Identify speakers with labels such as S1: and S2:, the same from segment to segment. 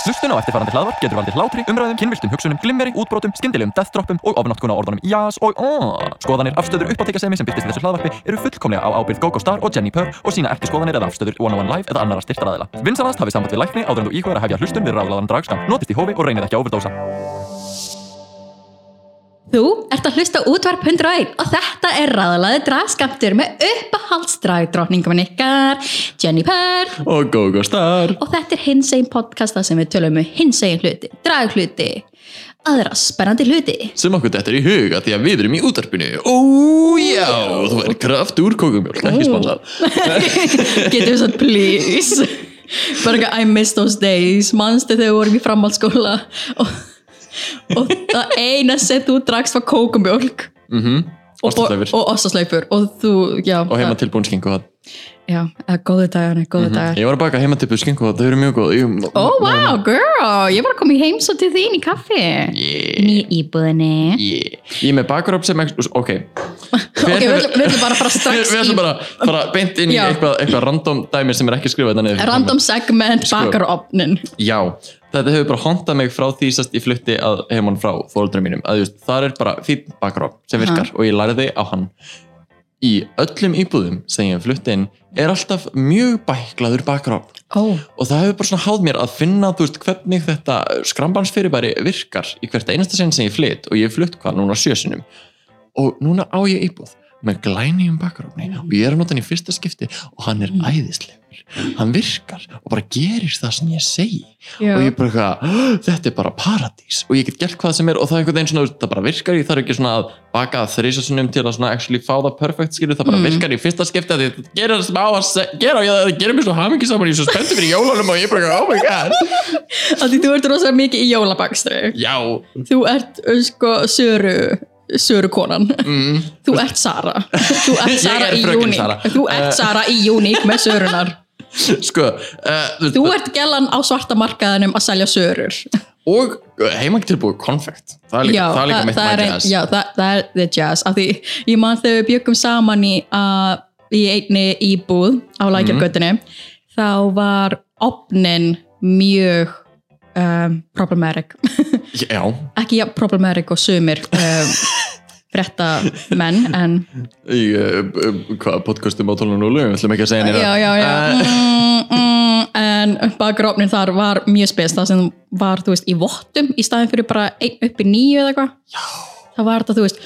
S1: Hlustun á eftirfarandi hlaðvarp getur valdið hlátri, umræðum, kynviltum hugsunum, glimmeri, útbrotum, skyndilegum deathdroppum og ofnotkun á orðunum jás og aaaah. Skoðanir, afstöður, uppáttekasemi sem byrtist í þessu hlaðvarpi eru fullkomlega á ábyrgð GoGo Star og Jenni Purr og sína ekki skoðanir eða afstöður One on One Live eða annara styrtaraðila. Vinsanast hafið samband við lækni áður en þú íhugar að hefja hlustun við ráðlaðan dragskam. Notist í hófi og reynið ekki að overdósa.
S2: Þú ert að hlusta á útvarp 101 og þetta er raðalaði dragskaptur með uppahaldsdragdrótningum ykkar, Jenny Purr
S3: Og Gogo Star
S2: og þetta er hinsegin podcast þar sem við tölum um hinsegin hluti, draghluti, aðra spennandi hluti.
S3: sem okkur þetta er í huga því að við erum í útarpinu Ó já, þú er kraft úr kókumjólk, ekki sponsor
S2: Getum við svo, please. Bara ekki, I miss those days, manstu þegar við vorum í framhaldsskóla og, og það eina sem þú dragst var kókumjólk og, og,
S3: Ostaslefur
S2: og ostaslaupur og þú, já.
S3: Mhm. og heima Mhm. tilbúin skenguhat
S2: Já, eða góðu dagarnir, góðu mm dagar.
S3: Ég var að baka heima tilbúin skenguhat, þau eru mjög góð
S2: Ó,
S3: Ég-
S2: oh, wow, girl, ég var að koma í heimsó til þín í kaffi.
S3: Yeah,
S2: Nýja íbúðinni.
S3: yeah. Ég er með bakaröp sem ekki, ok
S2: Ok,
S3: Hver
S2: við
S3: hefur-
S2: ætlum- við ætlum bara að fara strax
S3: Við
S2: í
S3: ætlum bara að fara beint inn í
S2: Já.
S3: eitthvað, eitthvað random dæmi sem er ekki skrifað þetta niður.
S2: random segment
S3: Sko.
S2: bakarofnin.
S3: Já, þetta hefur bara hontað mig frá því sest ég flutti að heimann frá fóruldrum mínum að just, þar er bara fínn bakarofn sem virkar og ég lærði á hann í öllum íbúðum sem ég hef flutti inn er alltaf mjög bæklaður bakarofn
S2: Ó,
S3: og það hefur bara svona háð mér að finna þú veist, hvernig þetta skrambansfyrirbæri virkar í hvert einasta sinn sem ég flytt og ég hef flutt hvað núna sjösinum og núna á ég íbúð með glænýjum bakarofni og ég er að nota hann í fyrsta skipti og hann er
S2: Mm.
S3: æðislegur hann virkar og bara gerir það sem ég segi
S2: já.
S3: og ég er bara eitthvað, "Hå, þetta er bara paradís og ég get gert hvað sem er og það er einhvern veginn svona þú veist, það bara virkar, ég þarf ekki svona að baka það þrísasunum til að svona actually fá það perfect skilur, það bara
S2: Mm.
S3: virkar í fyrsta skipti að þetta gerir það sem á að se- gera og ég- það gerir mér svo hamingi saman, ég er svo spenntur fyrir jólunum og ég er bara, eitthvað, oh my god
S2: Af því þú ert rosalega mikið í jólabakstri.
S3: já,
S2: Þú ert, uh, sko, söru, söru konan.
S3: mm,
S2: Þú ert Sara. Þú ert
S3: Ég
S2: Sara
S3: er
S2: í
S3: fröken
S2: Unique.
S3: Sara.
S2: Þú ert
S3: Eh.
S2: Sara í Unique með sörunar.
S3: sko uh,
S2: Þú ert gellan á svarta markaðinum að selja sörur.
S3: og eh, heimangitilbúið konfekt það er líka, það er líka mitt
S2: það er
S3: mæti
S2: ein-
S3: þess
S2: Já, það, það er the jazz af því ég man þegar við byggum saman í, uh, í einni íbúð á lækjargötunni
S3: Mhm.
S2: þá var opnin mjög um, problematic
S3: já,
S2: ekki ja, problematic og sumir um, bretta menn en
S3: í uh, uh, hvað podcastum á tólunum og lögum, við ætlum ekki að segja nýra
S2: já, já, já
S3: Eh.
S2: mm, mm, en bakgrófnin þar var mjög spes það sem var, þú veist, í vottum í staðin fyrir bara einn upp í nýju eða eitthvað það var þetta, þú veist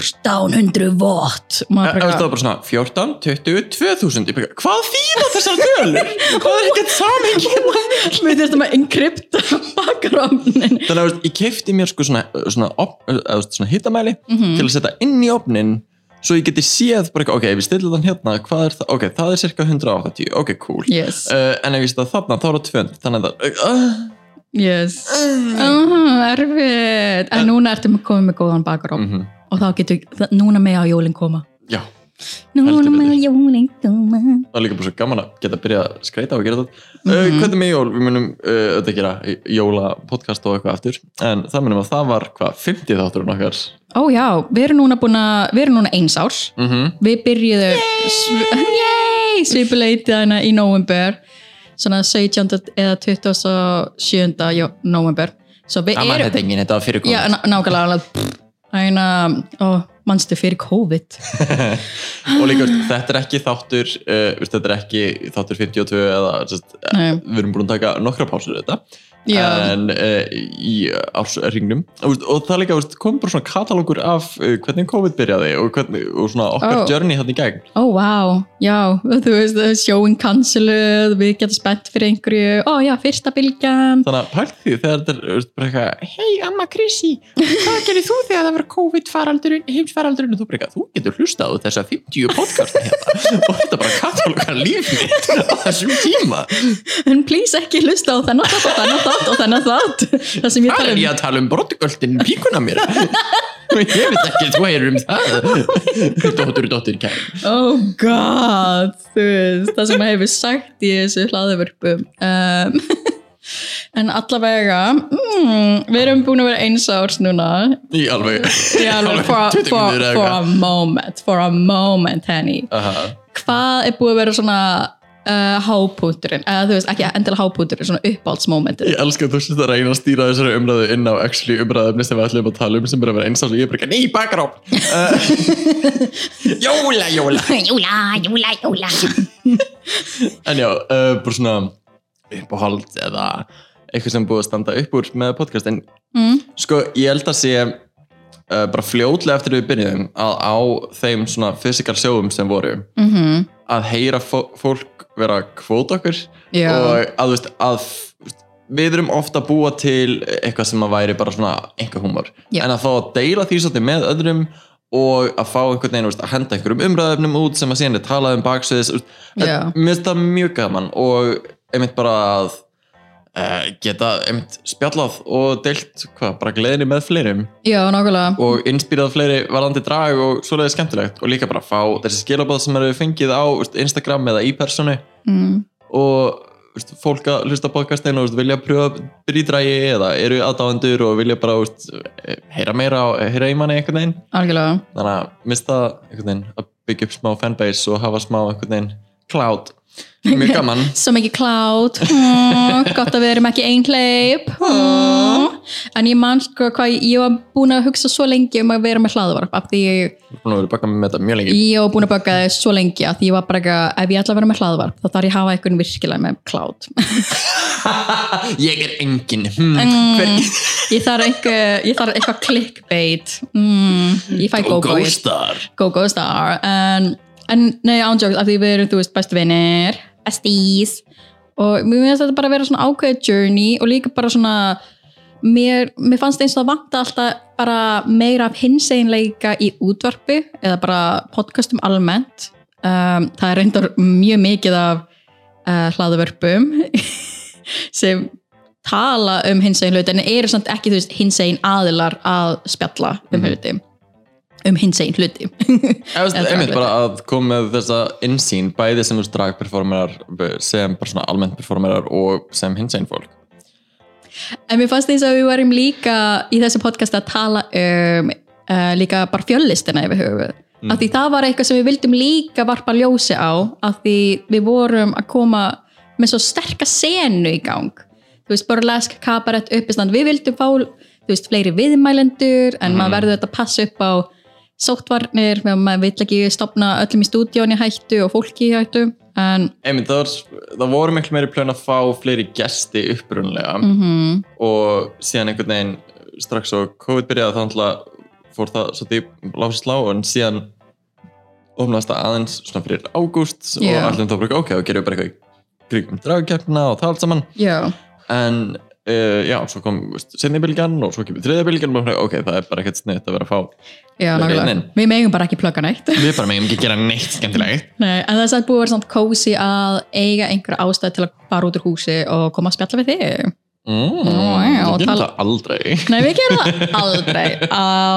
S2: 1400 vott
S3: Ef
S2: maður
S3: ef
S2: bara
S3: eh, það var bara svona 14, 20, 2000 ég bara, hvað þýða þessar tölur? hvað er ekkert samingi?
S2: eitthvað við þurftum að enkrypta bakgrófnin
S3: þannig að þú veist, ég kefti mér sko svona, svona, op, eða, þú veist, svona hittamæli
S2: Mhm.
S3: til að setja inn í opnin svo ég geti séð bara, eitthvað, ok, ef ég stilla þann hérna hvað er það, ok, það er cirka 180 ok, cool,
S2: yes,
S3: uh, en ef ég setja þarna þá er það 200, þannig að það uh,
S2: yes
S3: uh,
S2: uh, erfið, en núna ertum að koma með góðan bakgróf
S3: mhm,
S2: og þá getur, það- núna með að jólinn koma
S3: já
S2: núna
S3: Heldur betur.
S2: með að jólinn koma
S3: það er líka bara svo gaman að geta að byrja að skreita og gera þetta uh,
S2: Mhm.
S3: hvernig með jól, við munum uh, þetta gera jóla podcast og eitthvað aftur en það munum að það var hvað 50 þátturinn okkar
S2: ó já, við erum núna búin að við erum núna eins árs
S3: mm
S2: við byrjuðum sv- Yay! svipuleiti hana í november svona 17. eða 27. jó- november svo við erum
S3: enginn, þetta var fyrir
S2: já, ná- nákvæmlega þannig að, ó, mannstu fyrir COVID
S3: og líka, veist, þetta er ekki þáttur uh, veist, þetta er ekki þáttur 52 eða, sest,
S2: Nei,
S3: við erum búin að taka nokkra pásur þetta
S2: já,
S3: en uh, í ársringnum og, veist, og það líka veist, kom bara svona katalógur af uh, hvernig COVID byrjaði og, hvernig, og svona okkar
S2: Ó.
S3: journey þarna í gegn
S2: ó, vá, já þú veist, sjóin canceluð við getum spennt fyrir einhverju ó já, fyrsta bylgjan
S3: þannig að pælt því þegar þetta er veist, bara eitthvað hei amma Krissi, hvað gerir þú þegar það var COVID-faraldurinn, heimsfaraldurinn og þú bara eitthvað, þú getur hlustað á þessa 50 podcast hérna og þetta bara katalógar líf mitt á þessum tíma
S2: en please ekki hlusta á þennan þátt og þennan þátt og þennan þátt það sem ég
S3: Hvað
S2: tala
S3: er
S2: um
S3: ég að tala um brottgöldin píkuna mér? ég veit ekki, þú heyrir um það Dóttur, dóttur, kæm
S2: Oh god, þú veist, það sem maður hefur sagt í þessu hlaðvörpum. Um, en allavega, mm, við erum búin að vera eins árs núna.
S3: Í alveg
S2: Já, alveg, for,
S3: 20
S2: for,
S3: mínútur eða
S2: for a
S3: eitthvað.
S2: moment, for a moment, Henny.
S3: Aha.
S2: Hvað er búið að vera svona uh, hápúturinn, eða þú veist, ekki endilega hápúturinn, svona uppáhaldsmomentin.
S3: Ég elska að þú sérst að reyna að stýra þessari umræðu inn á actually umræðumni sem við ætlum að tala um sem er að vera eins og ég er bara ekki, ný bakgráp Jóla, jóla
S4: Júla, júla, júla.
S3: En já, uh, bara svona uppáhald eða eitthvað sem er búið að standa upp úr með podcast en
S2: Mm.
S3: sko, ég held að sé uh, bara fljótlega eftir við byrjuðum að á þeim svona fysikar sjóum sem voru
S2: Mm
S3: að heyra fó- fólk vera kvóta okkur
S2: Já.
S3: og að, þú veist, að f- við erum ofta að búa til eitthvað sem að væri bara svona einhver húmor
S2: Já.
S3: en að fá að deila því svolítið með öðrum og að fá einhvern veginn þú veist, að henda einhverjum umræðefnum út sem að síðan er talað um baksviðis þú veist,
S2: Já.
S3: en mér finnst það mjög gaman og einmitt bara að uh, geta einmitt spjallað og deilt hvað, bara gleðinni með fleirum
S2: Já, nákvæmlega.
S3: og inspírað fleiri varðandi drag og svoleiðið skemmtilegt og líka bara fá þessi skilabóð sem eru fengið á þú veist, Instagram eða í personu
S2: Mm.
S3: og þú veist, fólk að hlusta á podcastin og þú veist, vilja pröfa byrjídrægi eða eru aðdáendur og vilja bara þú veist, heyra meira og heyra í manni einhvern veginn
S2: Algjörlega.
S3: þannig að mista einhvern veginn að byggja upp smá fanbase og hafa smá einhvern veginn cloud mjög gaman
S2: Svo mikið klátt, mm, gott að við erum ekki einhleip. Mm. En ég man sko hvað ég, ég var búin að hugsa svo lengi um að vera með hlaðvarp af því ég,
S3: Búin að vera að baka með þetta mjög lengi
S2: ég var búin að baka það svo lengi af því ég var bara ekki að ef ég ætla að vera með hlaðvarp þá þarf ég að hafa einhvern virkilega með klátt.
S3: ég er engin hmm.
S2: Mm, ég þarf einhver- ég þarf eitthvað clickbait. Mm, ég fæ go-go.
S3: star
S2: Go-go star. En, en nei, ándjóks, af því við erum, þú veist, bestu vinnir.
S4: Bestís.
S2: og mér finnst þetta bara að vera svona ákveðið journey og líka bara svona mér, mér fannst eins og það vanta alltaf bara meira af hinseginleika í útvarpi eða bara podcastum almennt um, það er reyndar mjög mikið af uh, hlaðvörpum sem tala um hinsegin hluti en eru samt ekki þú veist hinsegin aðilar að spjalla um hluti um hinsegin hluti
S3: Efst,
S2: Eða
S3: einmitt
S2: dragvita.
S3: bara að koma með þessa innsýn bæði sem þú veist, dragperformerar sem bara svona almennt performerar og sem hinsegin fólk
S2: En mér fannst eins og við varum líka í þessu podcast að tala um uh, líka bara fjöllistina yfir höfuð. Mm. Af því það var eitthvað sem við vildum líka varpa ljósi á af því við vorum að koma með svo sterka senu í gang. Þú veist, bara lesk, kabarett, uppistand. Við vildum fá, þú veist, fleiri viðmælendur en maður verður þetta að passa upp á sóttvarnir, meðan maður vill ekki stopna öllum í stúdíóni hættu og fólki í hættu. En,
S3: einmitt, það, var, það voru miklu meiri plön að fá fleiri gesti upprunlega
S2: mhm,
S3: og síðan einhvern veginn strax og COVID byrjaði þá náttúrulega fór það svolítið lása slá en síðan opnaðist það aðeins svona fyrir ágúst
S2: Já.
S3: og allir þá bara ok, þá gerum við bara eitthvað krigum dragkeppna og það allt saman
S2: já,
S3: en uh, já, svo kom setni bylgjan og svo kemur þriðja bylgjan og bara, ok, það er bara ekkert sniðt að vera að fá
S2: já,
S3: Plugga inn
S2: nákvæmlega.
S3: inn.
S2: Við megum bara ekki plugga neitt.
S3: við bara megum ekki gera neitt skemmtilegt
S2: Nei, en það er samt búið að vera svona kósi að eiga einhverja ástæð til að fara út úr húsi og koma að spjalla við þig.
S3: mm,
S2: já,
S3: við gerum
S2: tala-
S3: það aldrei
S2: Nei, við gerum það aldrei,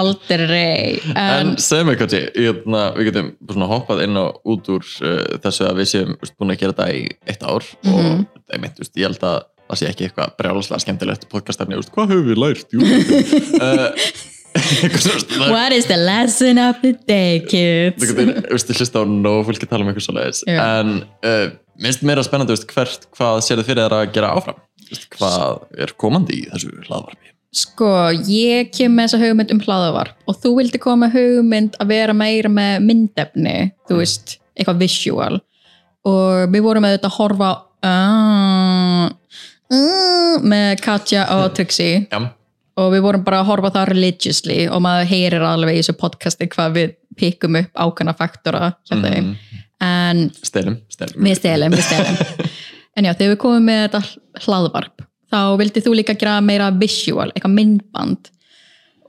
S2: aldrei. En,
S3: En segðu mig Kati, hérna, við getum bara svona hoppað inn og út úr uh, þessu að við séum veist, búin að gera þetta í eitt ár
S2: Mhm.
S3: og einmitt, veist, ég held að það sé ekki eitthvað brjálaslega skemmtilegt podcastarni, veist, hvað höfum við lært? Jú, uh, eitthvað sem, veist, það-
S2: what is the lesson of the day,
S3: þú
S2: kids?
S3: getur veist, ég hlusta á nóg fólki tala um eitthvað svoleiðis
S2: Já.
S3: en uh, minnst meira spennandi veist, hvert, hvað sér þið fyrir þér að gera áfram? Veist, hvað er komandi í þessu hlaðvarpi?
S2: Sko, ég kem með þessa hugmynd um hlaðavarp og þú vildi koma með hugmynd að vera meira með myndefni, þú veist, eitthvað visual. Og við vorum með þetta að horfa uh, uh, með Katja og Trixie.
S3: Já,
S2: og við vorum bara að horfa það religiously og maður heyrir alveg í þessu podcasti hvað við pikkum upp ákveðna faktora hjá þeim
S3: Mhm.
S2: en
S3: stelum, stelum
S2: við stelum, við stelum en já, þegar við komum með þetta hlaðvarp þá vildið þú líka gera meira visual, eitthvað myndband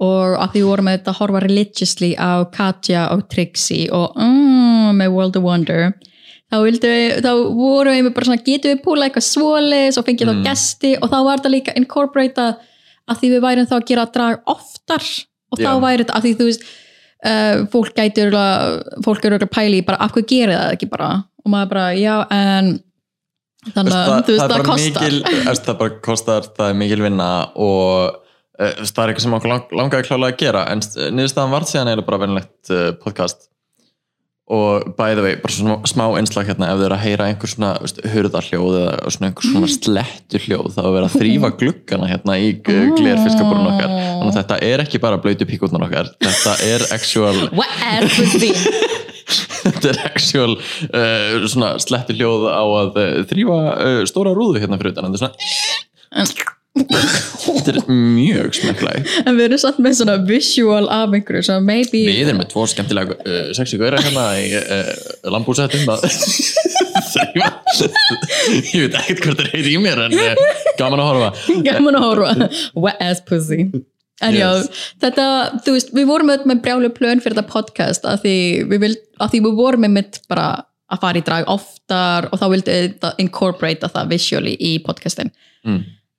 S2: og af því við vorum með þetta að horfa religiously á Katja og Trixie og mm, með World of Wonder þá, vildu, þá vorum við bara svona getum við púla eitthvað svoleiðis og fengið
S3: Mm.
S2: þá gesti og þá var þetta líka incorporatað að því við værum þá að gera drag oftar og þá
S3: Já.
S2: væri þetta að því þú veist uh, fólk gæti örugglega- fólk eru að pæli bara af hvað gerir það ekki bara og maður bara já en þannig að þú veist það,
S3: bara
S2: kostar
S3: mikil, veist, það bara kostar, það er mikil vinna og uh, veist, það er eh, eitthvað sem okkur lang, langaði klálega að gera en niðurstaðan var síðan eiginlega bara venlegt uh, eh, podcast og by the way, bara svona smá einslag hérna ef þau eru að heyra einhver svona veist, hurðarhljóð eða svona einhver svona
S2: Mm.
S3: slettu hljóð þá er verið að þrýfa gluggana hérna í glerfiskaborun okkar þannig
S2: Ah.
S3: að þetta er ekki bara blöytu píkutnar okkar þetta er actual
S2: What er for thee?
S3: þetta er actual uh, svona slettu hljóð á að uh, þrýfa uh, stóra rúðu hérna fyrir utan þetta er svona, þetta er mjög smekklæg
S2: En við erum satt með svona visual af einhverju, svona maybe
S3: við erum með tvo skemmtilega uh, sexy góra hérna í uh, lambúsettum að þrýfa ég veit ekkert hvort það heiti í mér en uh, gaman að horfa
S2: gaman að horfa wet ass pussy en já, þetta, þú veist, við vorum auðvitað með brjálu plön fyrir þetta podcast að því við, vild, að því við vorum með mitt bara að fara í drag oftar og þá vildi þetta incorporate það visually í podcastin
S3: Mm.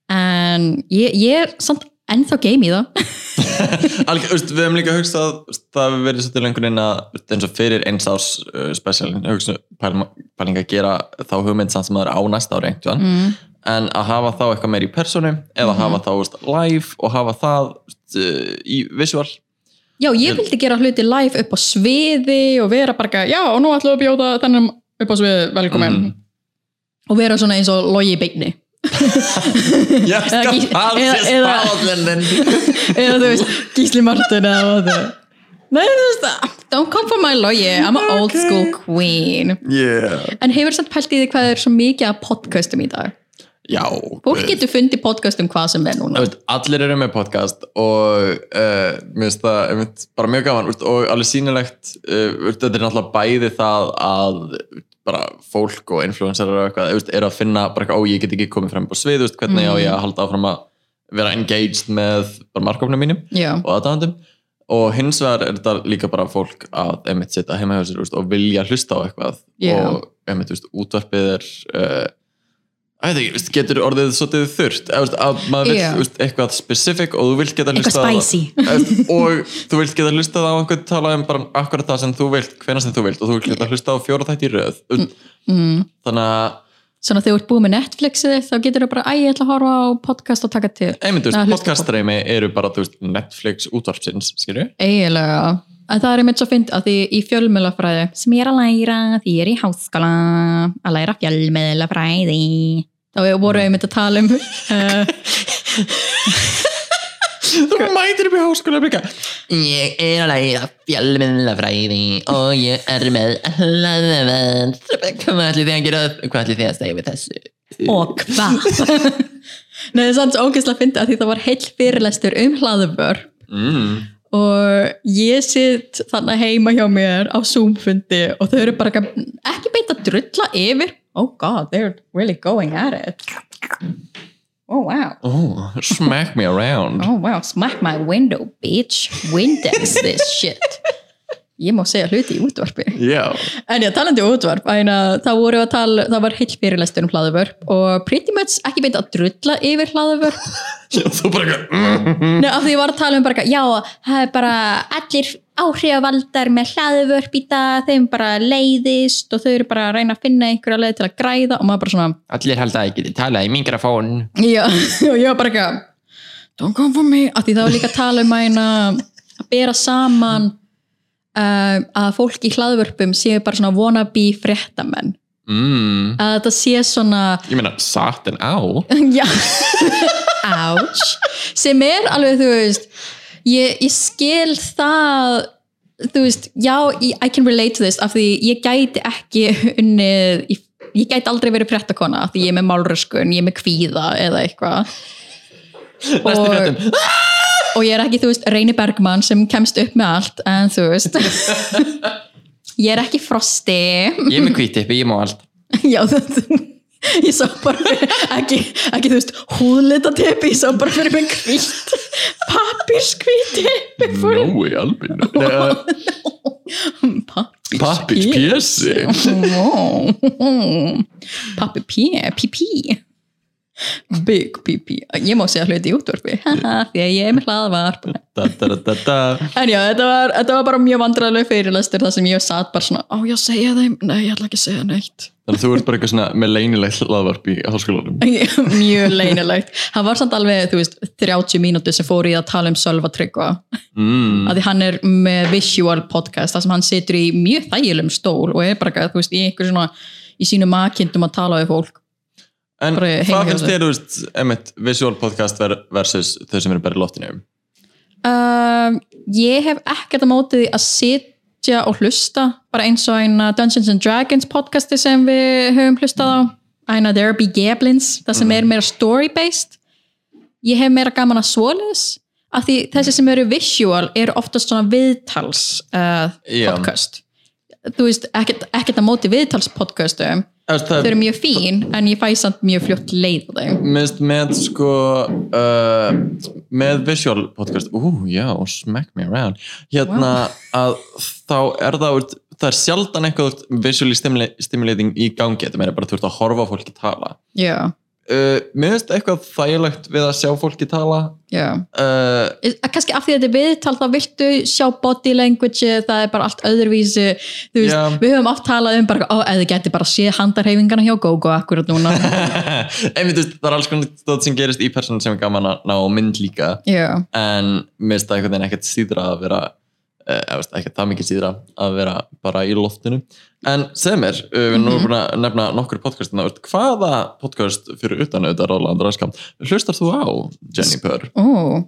S2: en ég, ég er samt ennþá game í það
S3: Alg, veist, við hefum líka hugsað veist, það hefur verið svolítið lengur inn að veist, eins og fyrir eins árs uh, spesialin hugsa pæling pæling að gera þá hugmynd samt sem það er á næsta ári einhvern
S2: mm. Mhm.
S3: en að hafa þá eitthvað meir í personu eða hafa þá veist, live og hafa það veist, uh, í visual
S2: já,
S3: Ég-
S2: ég vildi gera hluti live upp á sviði og vera bara, eitthvað, já, og nú ætlum við að bjóða þennan upp á sviði velkomin
S3: Mhm.
S2: og vera svona eins og logi í beigni
S3: ég
S2: Eða
S3: skal
S2: gí-
S3: fara
S2: eða-
S3: sér
S2: eða-
S3: spáðlinn
S2: eða þú veist, Gísli Martin eða hvað þau Nei, þú veist, don't come for my lawyer, I'm an old school queen.
S3: yeah.
S2: En hefur samt pælt í því hvað er svo mikið af podcastum í dag?
S3: já
S2: Fólk
S3: guð.
S2: getur fundið podcast um hvað sem er
S3: Þú
S2: núna.
S3: veist, allir eru með podcast og uh, mér finnst það einmitt, bara mjög gaman veist, og alveg sýnilegt uh, veist, þetta er náttúrulega bæði það að bara fólk og influencerar og eitthvað, veist, eru að finna bara eitthvað, ó ég get ekki komið fram upp á svið, veist, hvernig á ég að halda áfram að vera engaged með bara markofnum mínum
S2: Já,
S3: og aðdáðandum og hins vegar er þetta líka bara fólk að einmitt setja heima hjá sér veist, og vilja hlusta á eitthvað
S2: Já.
S3: og einmitt veist, útvarpið er uh, að þetta ekki, veist, getur orðið svolítið þurft að, veist, að maður vil
S2: Já.
S3: veist, eitthvað specific og þú vilt geta
S4: Eitthvað
S3: hlusta
S4: spicy.
S3: og þú vilt geta hlusta á einhvern tala um bara akkurat það sem þú vilt hvenær sem þú vilt og þú vilt geta hlusta á fjóra þætt í röð
S2: mm.
S3: þannig að
S2: svona þegar þú ert búið með Netflixið þitt, þá getur þú bara, æ, ég ætla að horfa á podcast og taka til.
S3: einmitt, þú
S2: Eða
S3: veist,
S2: hlusta á-
S3: podcastreimi eru bara þú veist, Netflix útvarpsins, skilju
S2: Eiginlega. En það er einmitt svo fynd að því í fjölmjölafræði.
S4: sem ég er að læra því ég er í háskóla að læra fjölmiðlafræði
S2: Þá voru
S3: Mm.
S2: einmitt að tala um... Uh,
S3: þú mætir upp í háskóla líka
S5: Ég er að læra fjölmiðlafræði og ég er með hlaðvend. Hvað ætlið þið að gera? Hvað ætlið þið að segja við þessu?
S2: og hvað Nei, það er samt svo ógeðslega að fyndi að því það var heill fyrirlestur um hlaðvör
S3: mm.
S2: og ég sitt þannig heima hjá mér á Zoom-fundi og þau eru bara ekki- ekki beint að drulla yfir Oh god, they're really going at it Oh wow
S3: oh, smack me around
S2: Oh wow, smack my window, bitch Windex this shit Ég má segja hluti í útvarpi
S3: Já,
S2: En já, talandi um útvarp, æna, það voru að tala, það var heill fyrirlestur um hlaðvörp og pretty much ekki beint að drulla yfir hlaðvörp,
S3: þú bara eitthvað mm.
S2: Nei, af því ég var að tala um bara, eitthvað, já, það er bara allir áhrifavaldar með hlaðvörp í dag, þeim bara leiðist og þau eru bara að reyna að finna einhverja leið til að græða og maður bara svona,
S5: Allir halda að ég geti talað í mikrofón.
S2: já, og ég var bara eitthvað, don't come for me, af því það var líka að tala um að, hérna, að bera saman uh, að fólk í hlaðvörpum séu bara svona wannabe fréttamenn,
S3: Mm.
S2: að þetta sé svona,
S3: Ég meina, satt en á
S2: Já Ouch sem er alveg þú veist ég, ég skil það þú veist, já, ég- I can relate to this af því ég gæti ekki unnið, ég, ég gæti aldrei verið fréttakona af því ég er með málröskun, ég er með kvíða eða eitthvað
S3: Næstu
S2: og,
S3: fréttum
S2: og ég er ekki, þú veist, Reyni Bergmann sem kemst upp með allt, en þú veist ég er ekki frosti
S5: Ég er með kvítippi, ég má allt.
S2: Já, þetta ég sá bara fyrir, ekki, ekki þú veist húðlita tepi, ég sá bara fyrir mig hvitt, pappirskvitt tepi fyrir
S3: Nói albinu uh, Pappis
S2: P
S3: pjessi
S2: pappi P, PP Big PP. Ég má segja hluti í útvarpi. Haha, Því að ég er með hlaðvarp.
S3: da, da, da, da, da.
S2: En já, þetta var, þetta var bara mjög vandræðileg fyrirlestur þar sem ég satt bara svona, á ég að segja þeim? Nei, ég ætla ekki að segja neitt.
S3: Þannig að þú ert bara eitthvað svona með leynilegt laðvarp í háskólanum.
S2: mjög leinilegt. Hann var samt alveg, þú veist, 30 mínútur sem fór í að tala um Sölva Tryggva.
S3: Mm.
S2: Af því hann er með visual podcast, þar sem hann situr í mjög þægilegum stól og er bara, eitthvað, þú veist, í einhver svona, í sínum aðkindum að tala við fólk.
S3: En
S2: bara heima hjá
S3: hvað finnst
S2: þér.
S3: þér, þú veist, emitt, visual podcast ver- versus þau sem eru bara í loftinu?
S2: Um, ég hef ekkert að móti því að sitja og hlusta bara eins og eina Dungeons and Dragons podcasti sem við höfum hlustað á eina There Be Gablins, það sem er meira story based ég hef meira gaman að svoleiðis af því þessi sem eru visual eru oftast svona viðtals uh,
S3: Já.
S2: podcast þú veist, ekkert, ekkert að móti viðtals podcastum,
S3: Eftir,
S2: þau eru mjög fín en ég fæ samt mjög fljótt leið á þeim
S3: Mist með sko uh, með visual podcast ú já, smack me around hérna að þá er það úr, það er sjaldan eitthvað visually stimula- stimulating í gangi þetta meira bara þú ert að horfa á fólki tala
S2: já,
S3: uh, mér finnst eitthvað þægilegt við að sjá fólki tala
S2: já
S3: uh,
S2: að kannski af því að þetta er viðtal þá viltu sjá body language það er bara allt öðruvísi þú veist,
S3: Já.
S2: við höfum oft talað um bara, ó, eða geti bara séð handarhefingarna hjá GóGó akkurat núna
S3: einmitt, þú veist, það er alls konar stóð sem gerist í persónu sem er gaman að ná á mynd líka
S2: já,
S3: en mér finnst það einhvern veginn ekkert síðra að vera eh, eða veist, ekkert það mikið síðra að vera bara í loftinu en sem er, eh, við erum
S2: Mhm.
S3: nú búin að nefna nokkur podcastina, veist, hvaða podcast fyrir utan auðvitað Róland Raskam hlustar þú á Jenny Purr?
S2: ó,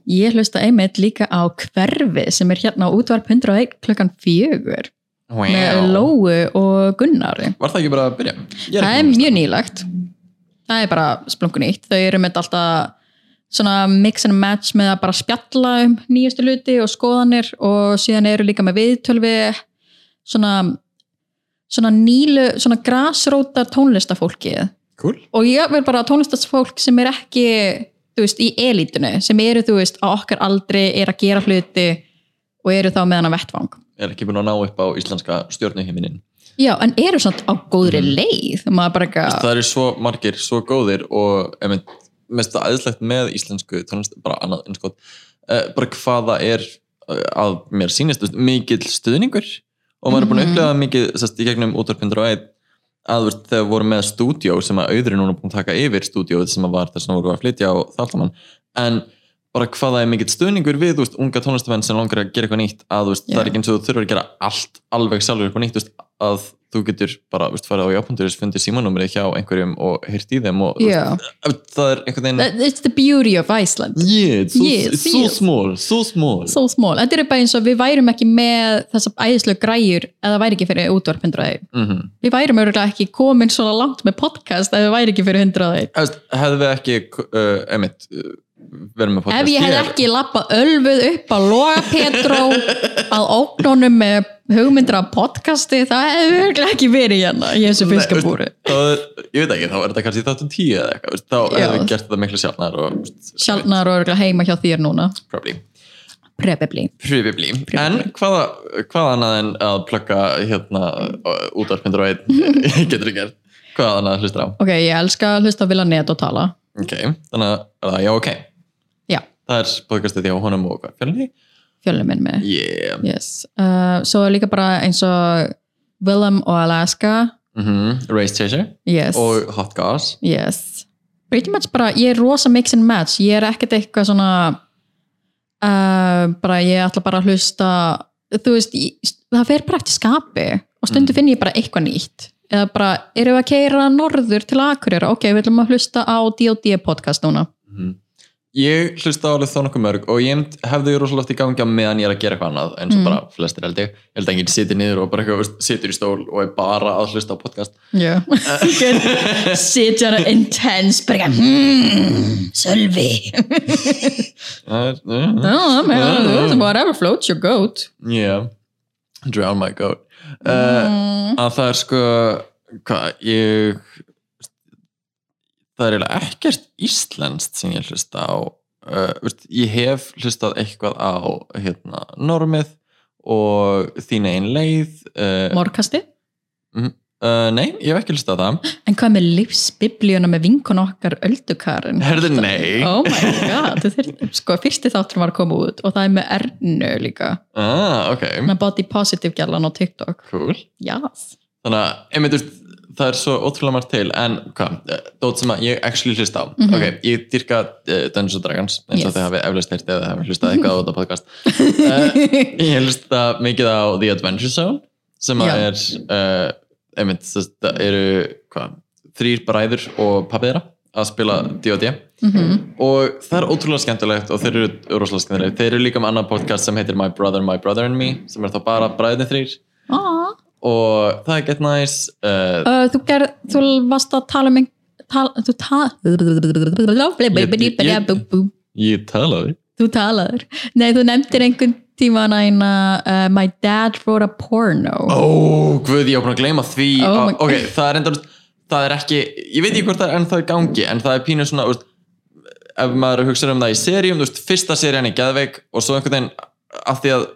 S2: ég hlusta einmitt líka á hverfi sem er hérna á útvarp 101 klukkan fjögur með Lóu og Gunnari
S3: Var það ekki bara að byrja?
S2: það
S3: Ég ekki
S2: er
S3: búin að
S2: mjög nýlegt það er bara splungun ítt þau eru með alltaf svona mix and match með að bara spjalla um nýjustu luti og skoðanir og síðan eru líka með viðtölvi svona svona nýlu, svona grasróta tónlistafólkið
S3: hlusta. cool.
S2: og ég vil bara tónlistafólk sem er ekki þú veist, í elítunni, sem eru þú veist á okkar aldri, er að gera hluti og eru þá með hana vettvang
S3: er ekki búin að ná upp á íslenska stjórnuhiminin
S2: já, en eru svona á góðri leið maður bara ekki
S3: það eru svo margir, svo góðir og emi, mest það aðeinslegt með íslensku tónlist, bara annað einskot uh, bara hvað það er eh, að mér sýnist, þú veist, mikill stuðningur og maður er búin að
S2: Mhm.
S3: upplega mikið sest, í gegnum útvarpindur og eitt að þú veist, þegar voru með stúdíó sem að auðurinn núna búin að taka yfir stúdíóið sem að var þess að voru að flytja og þáttamann en bara hvað það er mikill stuðningur við þú veist, unga tónlistamenn sem langar að gera eitthvað nýtt að þú veist, það
S2: Já.
S3: er ekki eins og þú þurfur að gera allt alveg sjálfur upp á nýtt þú veist, að þú getur bara þú veist, farið á jápunduris, fundið símanúmerið hjá einhverjum og heyrt í þeim og þú
S2: já
S3: veist, það er einhvern veginn
S2: That- It's the beauty of Iceland.
S3: yeah, it's so,
S2: Yes,
S3: it's so
S2: yes.
S3: small, so small
S2: So small. Þetta er bara eins og við værum ekki með þessar æðislega græjur eða það væri ekki fyrir útvarp 101.
S3: Mhm.
S2: Við værum örgulega ekki komin svona langt með podcast eða það væri ekki fyrir 101.
S3: Þú veist, hefðu við ekki uh, emitt, uh, verið með podcast
S2: Ef ég hef
S3: hér?
S2: ekki lappað ölfuð upp á Loga Petró að óknónum með hugmyndir af podcasti, það hefur örgulega ekki verið hérna í þessu
S3: Nei,
S2: fiskabúri.
S3: þá, ég veit ekki, þá er þetta kannski þáttum tíu eða eitthvað, þú veist, þá
S2: Já.
S3: hefðu við gert þetta miklu sjálfnar og þú veist,
S2: Sjálfnar og örgulega heima hjá þér núna.
S3: probably
S2: Probably.
S3: Probably. En hvaða, hvaða annað en að plugga hérna
S2: Mm.
S3: útvarpindur og einn getur þú gert? Hvaða annað hlustur á?
S2: Ok, ég elska að hlusta að vilja net og tala.
S3: Ok, þannig að er það já ok.
S2: Já,
S3: Það er podcastið hjá honum og hvað fjölni?
S2: fjölum minn með.
S3: Yeah.
S2: Yes. Uh, svo er líka bara eins og Willem og Alaska.
S3: Mm Race Chaser
S2: Yes.
S3: og Hot Gas.
S2: yes. Pretty much bara, ég er rosa mix and match. Ég er ekkert eitthvað svona uh, bara ég ætla bara að hlusta þú veist, ég, það fer bara eftir skapi og stundu finn ég bara eitthvað nýtt eða bara, erum við að keira norður til Akureyra, ok, við ætlum að hlusta á D.O.D. podcast núna
S3: Ég hlusta alveg þó nokkuð mörg og ég mynd- hefði ég rosalegt í gangi á meðan ég er að gera eitthvað annað eins og
S2: Mm.
S3: bara flestir held ég. Ég held að enginn situr niður og bara eitthvað, veist, situr í stól og er bara að hlusta á podcast.
S2: yeah. sitja hana intense bara, hmm, Sölvi
S3: Það er- mm.
S2: Oh,
S3: Mm.
S2: man, whatever floats your goat.
S3: Yeah, drown my goat uh, að það er sko hvað, ég það er eiginlega ekkert íslenskt sem ég hlusta á uh, veist, ég hef hlustað eitthvað á hérna, normið og þín einn leið uh,
S2: Morkasti?
S3: uh, Uh, nei, ég hef ekki hlustað á það.
S2: En hvað með lífsbiblíuna með vinkun okkar öldukarinn?
S3: Herðu, nei.
S2: Oh my god, þú þurftir, sko, fyrsti þáttur var að koma út og það er með Ernu líka.
S3: Ah, ok,
S2: Hún er body positive gælan á TikTok.
S3: cool.
S2: Yes.
S3: Þannig að, einmitt, þú veist, það er svo ótrúlega margt til, en hvað, eh, dót sem að ég actually hlust á.
S2: Mhm.
S3: Ok, ég dyrka uh, Dungeons and Dragons, eins og
S2: Yes.
S3: þið hafið eflaust heyrt eða hafið hlustað eitthvað á þetta podcast. Uh, ég hlusta mikið á The Adventure Zone, sem að
S2: Já.
S3: er, uh, einmitt, þess- það eru, hvað, þrýr bræður og pappið þeirra að spila D&D
S2: Mm -hmm.
S3: og það er ótrúlega skemmtilegt og þeir eru rosalega skemmtilegt. Þeir eru líka með annan podcast sem heitir My Brother, My Brother and Me, sem er þá bara bræðinni þrýr og það er gett næs uh,
S2: Ah. Eh, þú, gerð, þú varst að tala um ein- tal, þú, tal,
S3: Ég talaði
S2: þú talaður nei þú nefndir einhvern tíma næna uh, my dad wrote a
S3: Oh.
S2: porno
S3: Ó, guð, ég á búin að gleyma því
S2: Oh
S3: oh
S2: my-
S3: Ok, það er enda Það er ekki, ég veit ekki hvort það er ennþá í gangi En það er pínu svona úst, Ef maður hugsa um það í seríum þú veist, Fyrsta serían er Geðveik Og svo einhvern veginn af því að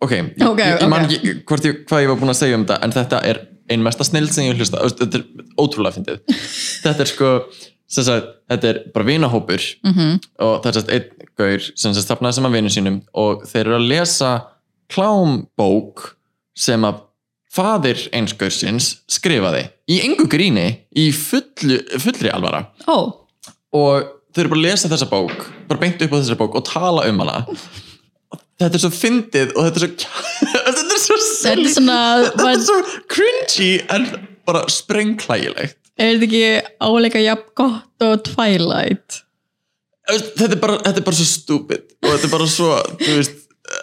S3: Ok, ég,
S2: Ok,
S3: ég, ég man
S2: ok.
S3: ekki hvort ég, hvað ég var búin að segja um þetta En þetta er ein mesta snild sem ég hef hlusta Þetta er ótrúlega fyndið Þetta er sko, sem sagt, þetta er bara vinahópur
S2: mm -hmm.
S3: og það er sérst einn gaur sem sérst stafnaði saman vinnu sínum og þeir eru að lesa klámbók sem að faðir eins gaursins skrifaði í engu gríni í fullu, fullri alvara
S2: ó,
S3: og þau eru bara að lesa þessa bók bara beint upp á þessa bók og tala um hana þetta er svo fyndið og þetta er svo þetta er svo,
S2: þetta er svona
S3: þetta
S2: var,
S3: er svo cringy en bara sprengklægilegt
S2: er þetta ekki áleika jafn gott og Twilight
S3: þetta er bara, þetta er bara svo stúpid og þetta er bara svo, þú veist eh,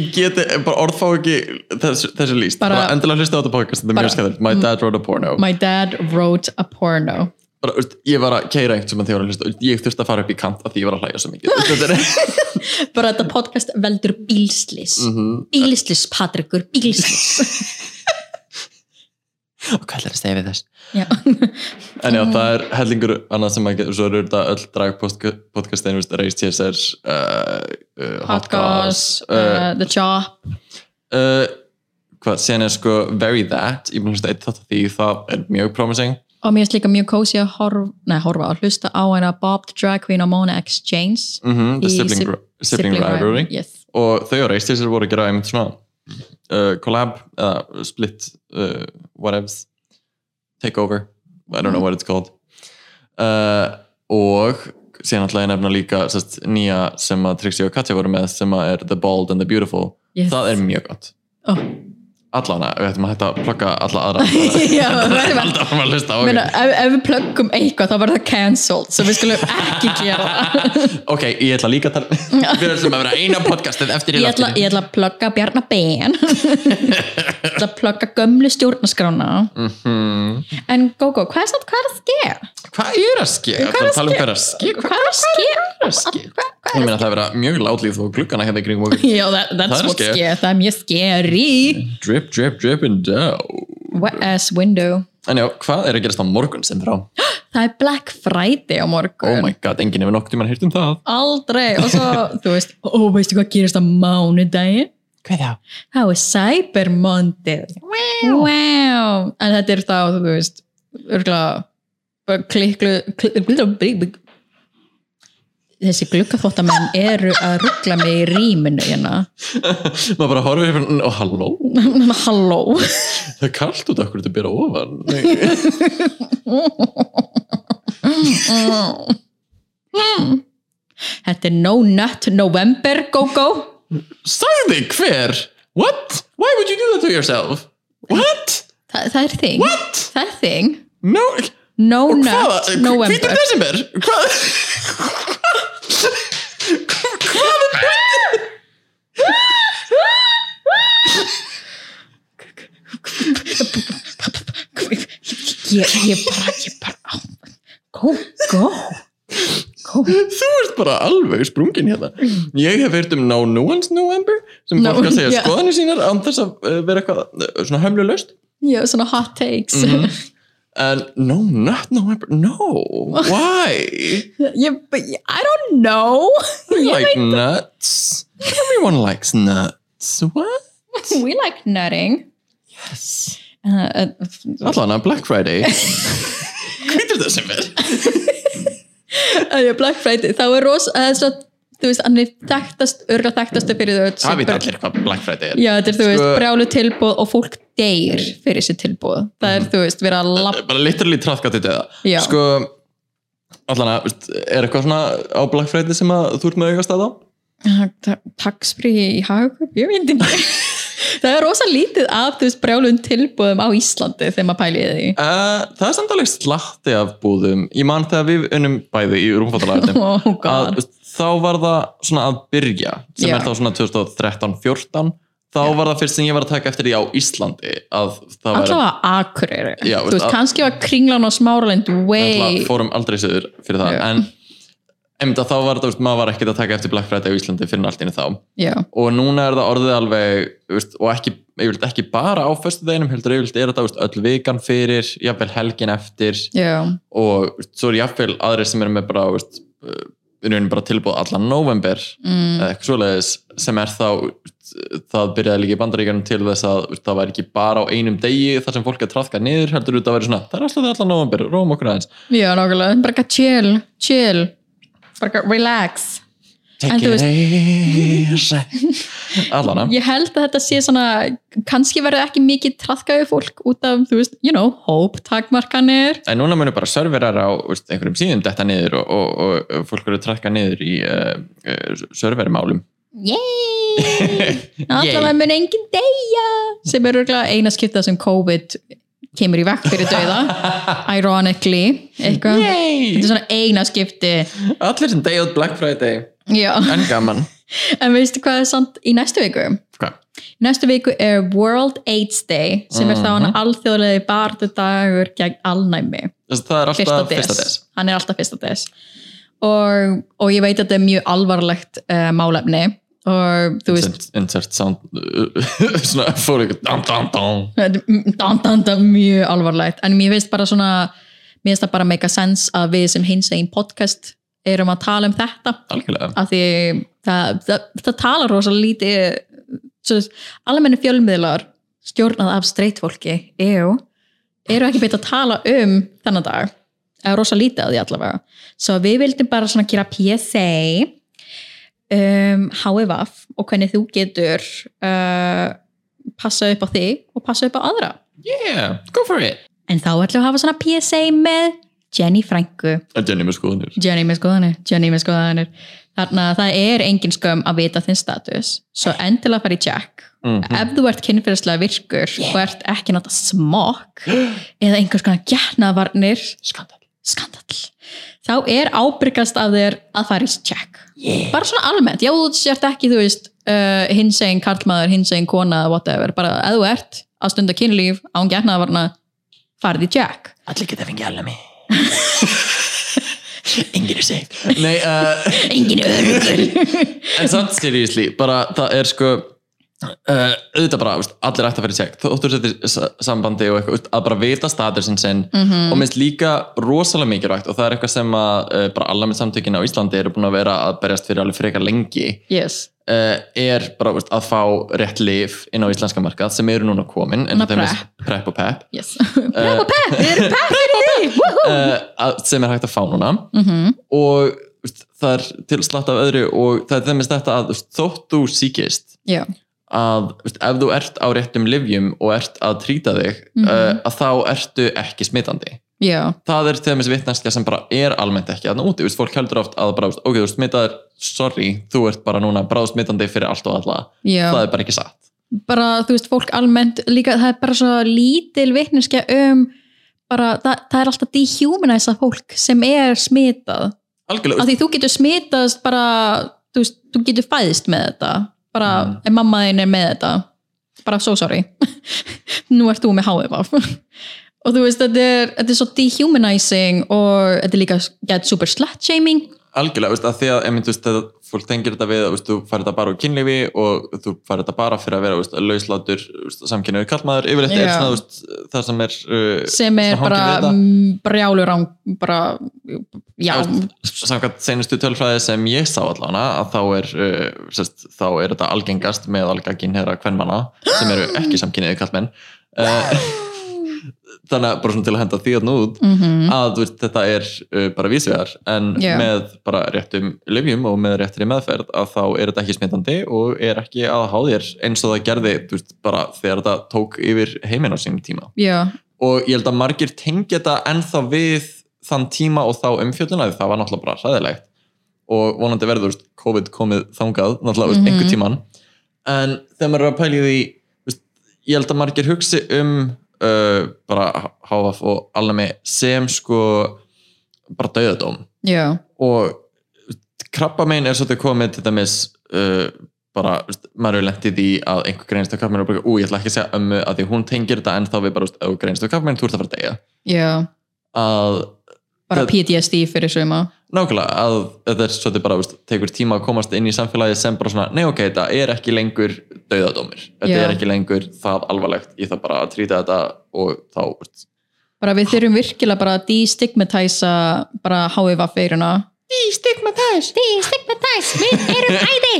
S3: ég geti, bara orðfá ekki þessu, þessu líst,
S2: Bara-
S3: bara, endilega hlusta á þetta podcast þetta er
S2: Bara-
S3: mjög skæðilegt, my dad wrote a porno
S2: my dad wrote a porno
S3: bara, þú veist, ég var að keira einhvern sem að því var að hlusta og ég þurfti að fara upp í kant af því ég var að hlæja svo mikið þetta er
S2: bara þetta podcast veldur bílslis
S3: Mhm.
S2: bílslis Patrikur, bílslis
S5: Og hvað ætlar að segja við þess?
S2: já,
S3: En
S2: Ah.
S3: já, það er hellingur annað sem að geta, svo eru þetta öll dragpodcastin, veist, Race TSR uh, uh,
S2: Hot Goss uh, The Chop
S3: uh, hvað, síðan er sko Very That, ég mun hlusta eitt þátt af því það er mjög promising
S2: og mér finnst líka mjög kósi að horfa, nei, horfa að hlusta á hana Bob the Drag Queen og Mona Exchange
S3: mm The
S2: Í
S3: Sibling,
S2: sib-
S3: Ri- sibling, Rivalry
S2: yes.
S3: og þau og Race voru að gera einmitt svona uh, collab eða split uh, whatevs takeover, I don't know what it's called uh, og síðan ætla ég að nefna líka sest, nýja sem að Trixie og Katja voru með sem að er The Bald and the Beautiful
S2: Yes.
S3: það er mjög gott
S2: oh.
S3: allana, við ættum að hætta að plugga alla aðra
S2: Já, verðum að-
S3: alltaf að hlusta á
S2: okay.
S3: okkur.
S2: Meina, ef, ef við plöggum eitthvað þá verður það cancelled svo við skulum ekki gera það.
S3: ok, ég ætla líka að tala við ætlum að vera eina podcastið eftir í
S2: ég ætla,
S3: lofti
S2: ég ætla að plugga Bjarnar Ben ég ætla að plugga gömlu stjórnaskrána
S3: Mhm.
S2: en Gogo, hvað er satt, hvað er að ske?
S3: hvað er að ske?
S2: Hvað er að
S3: Tala um
S2: ske?
S3: hvað er að ske?
S2: hvað er að ske?
S3: Ég meina það er að vera mjög látlíð og gluggana hérna í kringum okkur.
S2: Já, that, that's
S3: er
S2: what
S3: ske.
S2: ske, það er mjög skeri
S3: Drip, drip, drip and down.
S2: wet ass window
S3: En já, hvað er að gerast á morgun sem frá?
S2: það er Black Friday á morgun
S3: Oh my god, enginn hefur nokkuð tíma hýrt um það.
S2: aldrei og svo, þú veist, ó, veistu hvað gerist á mánudaginn?
S5: Hvað þá?
S2: þá er Cyber Monday wow. en þetta er þá, þú veist örgulega bara kliklu kli- bli- bli- bli- þessi gluggaþvottamenn eru að ruggla mig í rýminu hérna
S3: Maður bara horfir yfir, og oh, halló,
S2: halló
S3: það er kallt út okkur, þetta byrja ofan. Nei.
S2: þetta er No Nut November, go go
S3: Sagði hver? What? Why would you do that to yourself? What?
S2: Þa, það er þing
S3: What?
S2: það er þing
S3: No,
S2: No
S3: hvaða?
S2: Nut
S3: Hvítur
S2: November
S3: desember? Hvað? Hvað er þetta?
S2: ég, ég bara, ég bara go go go
S3: Þú ert bara alveg sprungin hérna. Ég hef heyrt um No Nuance November sem
S2: No,
S3: fólk að segja
S2: já.
S3: skoðanir sínar án þess að eh, vera eitthvað eh, svona hömlulaust.
S2: Já, svona hot takes
S3: En No Nut November, no, why?
S2: ég, but ég- I don't know
S3: We like nuts. Everyone likes nuts. What?
S2: We like nutting
S3: Yes.
S4: uh,
S3: Allan að Black Friday Hvítur desember
S2: að ég Black Friday, þá er ros að þess að þú veist, hann er þekktast örgulega þekktast fyrir þau öll sem
S3: Það veit
S2: bara-
S3: allir hvað Black Friday er
S2: Já, þetta er þú veist,
S3: Sko-
S2: brjálu tilbúð og fólk deyr fyrir þessi tilbúð það er þú veist, vera að lapp
S3: Bara literally trafka til döða
S2: Já.
S3: Sko Allan að, veist, er eitthvað svona á Black Friday sem að þú ert með augast að á?
S2: taksfrí í hagkaup, ég veit ekki það er rosa lítið af þú veist, brjálun tilbúðum á Íslandi þegar maður pæli í því
S3: Uh, það er samt alveg slatti af búðum Ég man þegar við unnum bæði í rúmfattalagarnum
S2: oh
S3: að,
S2: god,
S3: veist, þá var það svona að byrja sem
S2: Já.
S3: er þá svona 2013-14 þá var það fyrst sem ég var að taka eftir því á Íslandi að það var
S2: allavega akureyri
S3: Já,
S2: Ah, þú
S3: veist,
S2: veist,
S3: að-
S2: kannski var kringlan og smáraland way,
S3: fórum aldrei sögur fyrir það
S2: Já.
S3: en einmitt að þá var það, veist, maður var ekkert að taka eftir Black Friday á Íslandi fyrir allt inni þá
S2: já,
S3: og núna er það orðið alveg veist, og ekki, yfirleitt ekki bara á föstu deginum heldur yfirleitt er þetta veist, öll vikan fyrir jafnvel helgin eftir
S2: já
S3: og veist, svo er jafnvel aðrir sem eru með bara, veist, uh, í rauninni bara tilbúð allan november
S2: mm,
S3: eða eitthvað svoleiðis sem er þá það byrjaði líka í bandaríkjunum til þess að það væri ekki bara á einum degi þar sem fólk er trafkað niður heldur þetta að vera svona það er alltaf allan november, róm okkur aðeins
S2: já, nákvæmlega, bara eitthvað chill chill, bara eitthvað relax En
S3: take
S2: þú
S3: it easy allan að
S2: ég held að þetta sé svona kannski verður ekki mikið trafkaðu fólk út af, þú veist, you know, hóptakmarkanir
S3: en núna munir bara serverar á veist, einhverjum síðum detta niður og, og, og fólk eru trafkað niður í uh, uh, servermálum
S4: yay
S2: allavega mun enginn deyja sem er örgulega eina skipta sem COVID kemur í vekk fyrir dauða ironically, eitthvað þetta
S3: Yay!
S2: er svona eina skipti
S3: allir sem degi út Black Friday
S2: já,
S3: en gaman
S2: en veistu hvað er samt í næstu viku?
S3: Hvað?
S2: Í næstu viku er World AIDS Day sem er þá hann alþjóðlega barðudagur gegn alnæmi
S3: Þess að það er
S2: fyrsta
S3: alltaf
S2: des.
S3: fyrsta des
S2: hann er alltaf fyrsta des og, og ég veit að þetta er mjög alvarlegt uh, málefni og þú veist
S3: insert, insert sound svona fór ykkur dam, dam, dam.
S2: þetta er m- dan, dan, dan, mjög alvarlegt en mér finnst bara svona mér finnst það bara make a sense að við sem hins einn podcast erum að tala um þetta
S3: algjörlega
S2: af því það, það, það talar rosa lítið almenni fjölmiðlar stjórnað af streitfólki ew, eru ekki beitt að tala um þennan dag, eða rosa lítið að því allavega, svo við vildum bara svona gera PSA um, HVF og hvernig þú getur uh, passa upp á þig og passa upp á aðra
S3: yeah, go for it
S2: en þá ætlum við að hafa svona PSA með Jenny Franku
S3: en Jenny með skoðunir
S2: Jenny með skoðanir, Jenny með skoðanir þarna það er engin skömm að vita þinn status, svo endilega fara í check ef þú ert kynfyrirslega virkur og ert ekki nátt að smokk eða einhvers konar getnaðvarnir
S3: skandal
S2: skandall þá er ábyrgast af þér að fara í check yeah. bara svona almennt, já þú sért ekki þú veist uh, hins egin karlmaður, hins egin kona whatever, bara ef þú ert að stunda kynlíf án getnaðvarna farið í check
S5: Allir geta fengið alveg mig. Engir er safe.
S3: nei, uh,
S2: engin örugur
S3: en samt seriously bara það er sko uh, auðvitað bara, veist, allir ætti að fara í sekt þóttur þetta sambandi og eitthvað veist, að bara vita statusinn sinn og minnst líka rosalega mikilvægt og það er eitthvað sem að uh, bara allar með samtökin á Íslandi eru búin að vera að berjast fyrir alveg frekar lengi
S2: yes,
S3: uh, er bara veist, að fá rétt lif inn á íslenska markað sem eru núna komin en
S2: Núna
S3: það er prep og pep Eh,
S2: yes Bravo Pep, við erum Pep fyrir því Woohoo!
S3: uh, að- sem er hægt að fá núna
S2: Mhm,
S3: og veist, það er til slatt af öðru og það er þeimist þetta að veist, þótt þú síkist
S2: Já,
S3: að veist, ef þú ert á réttum livjum og ert að trýta þig
S2: Mhm.
S3: uh, að þá ertu ekki smitandi
S2: já,
S3: það er til þess vitneskja sem bara er almennt ekki þannig úti, veist, fólk heldur oft að bara, veist, ok, þú ert smitaður, sorry, þú ert bara núna bráðsmitandi fyrir allt og alla
S2: já
S3: það er bara ekki satt
S2: bara þú veist fólk almennt líka það er bara svo lítil vitneskja um bara það, það er alltaf dehumanizað fólk sem er smitað
S3: algjörlega,
S2: af því þú getur smitaðast bara þú veist, þú getur fæðist með þetta bara eh,
S3: Mm.
S2: ef mamma þín er með þetta bara so sorry nú ert þú með HFF og þú veist, þetta er, þetta er svo dehumanizing og þetta er líka get super slut shaming
S3: algjörlega, veist, að því að, einmitt, veist, að fólk tengir þetta við að veist, þú farir þetta bara úr kynlífi og þú farir þetta bara fyrir að vera veist, lauslátur samkynniður kallmaður yfirleitt er
S2: Já.
S3: svona, veist, það sem er uh,
S2: sem er
S3: Svona hangir við
S2: bara
S3: þetta.
S2: mm, brjálur án bara, já
S3: samkvæmt senustu tölfræði sem ég sá allana að þá er, uh, sest, þá er þetta algengast með algaginn herra kvenmana sem eru ekki samkynniður kallmenn uh, þannig að bara svona til að henda því að út
S4: Mhm.
S3: að þú veist, þetta er uh, bara vísvegar en
S2: Já.
S3: með bara réttum lyfjum og með réttri meðferð að þá er þetta ekki smitandi og er ekki að há þér eins og það gerði þú veist, bara þegar þetta tók yfir heiminn á sínum tíma
S2: já,
S3: og ég held að margir tengja þetta ennþá við þann tíma og þá umfjölluna því það var náttúrulega bara hræðilegt og vonandi verður þú veist, COVID komið þangað náttúrulega mm
S4: Mhm.
S3: einhver tíman en þegar maður er að pæli því þú veist, ég held að margir hugsi um uh, bara HF og alnæmi sem sko bara dauðadóm
S2: já,
S3: og krabbamein er svolítið komið til dæmis uh, bara, veist, maður er lent í því að einhver greinist af krabbamein og bara, ú, ég ætla ekki að segja ömmu að því hún tengir þetta en þá við bara, veist, ef þú greinist af krabbamein, þú ert að fara að deyja
S2: já
S3: að,
S2: bara
S3: Það-
S2: PTSD fyrir suma
S3: nákvæmlega, að þetta er svolítið bara, veist, tekur tíma að komast inn í samfélagi sem bara svona, nei ok, þetta er ekki lengur dauðadómir, þetta
S2: Já.
S3: er ekki lengur það alvarlegt, ég þarf bara að trýta þetta og þá, veist,
S2: bara við þurfum virkilega bara að destigmatæsa bara HIVA-feiruna
S4: Stigmatæs, við erum æði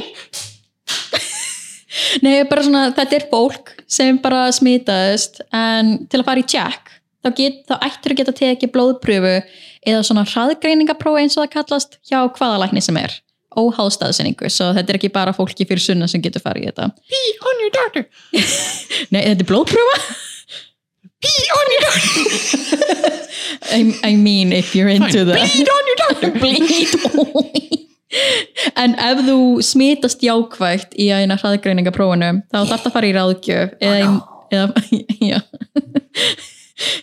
S2: Nei, bara svona, þetta er fólk sem bara smitaðist en til að fara í check þá, get, þá ættir að geta tekið blóðpröfu eða svona hraðgreiningaprófi eins og það kallast hjá hvaða lækni sem er óháðstaðsynningu, svo þetta er ekki bara fólki fyrir sunna sem getur farið í þetta Pee on your doctor Nei, þetta er blóðpröfa Pee on your doctor I, I mean, if you're into that Bleed on your doctor Bleed on En ef þú smitast jákvægt í eina hraðgreiningaprófinu þá þarf það að fara í ráðgjöf eða, oh eða já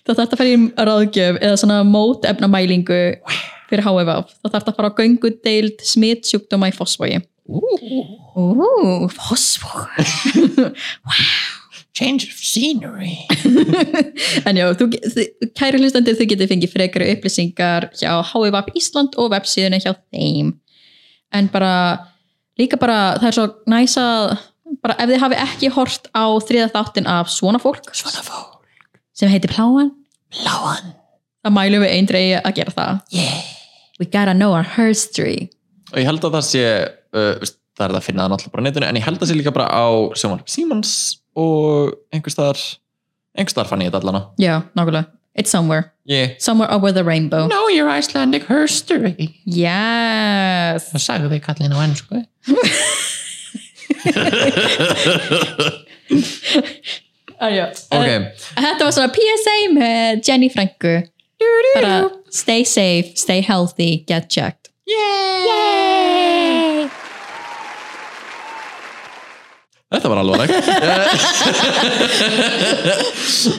S2: þá þarf það að fara í ráðgjöf eða svona mótefnamælingu fyrir HFV þá þarf það að fara á göngudeild smitsjúkdóma í fósfói Ú, fósfói
S5: Change of scenery.
S2: En já, þú, þi- kæri hlustandi, þau getið fengið frekari upplýsingar hjá HVVAP Ísland og vefsíðunni hjá þeim. En bara, líka bara, það er svo næsa, bara ef þið hafi ekki hort á þriða þáttin af svona fólk. Svona fólk. Sem heitir Pláan.
S5: Láan.
S2: Það mælum við eindrei að gera það.
S5: Yeah.
S2: We gotta know our history.
S3: og ég held að það sé uh, veist, það er það að finna það náttúrulega bara á netinu en ég held að það sé líka bara á sjónvarp Simons og einhvers staðar einhvers staðar fann ég þetta allana
S2: Já, nákvæmlega. It's somewhere.
S3: ég,
S2: Somewhere over the rainbow.
S5: Know your Icelandic history.
S2: Yes.
S5: Það sagði við kallin á ennsku.
S2: Ah, já.
S3: ok,
S2: Þetta var svona PSA með Jenny Franku bara stay safe, stay healthy get checked
S3: þetta var alveg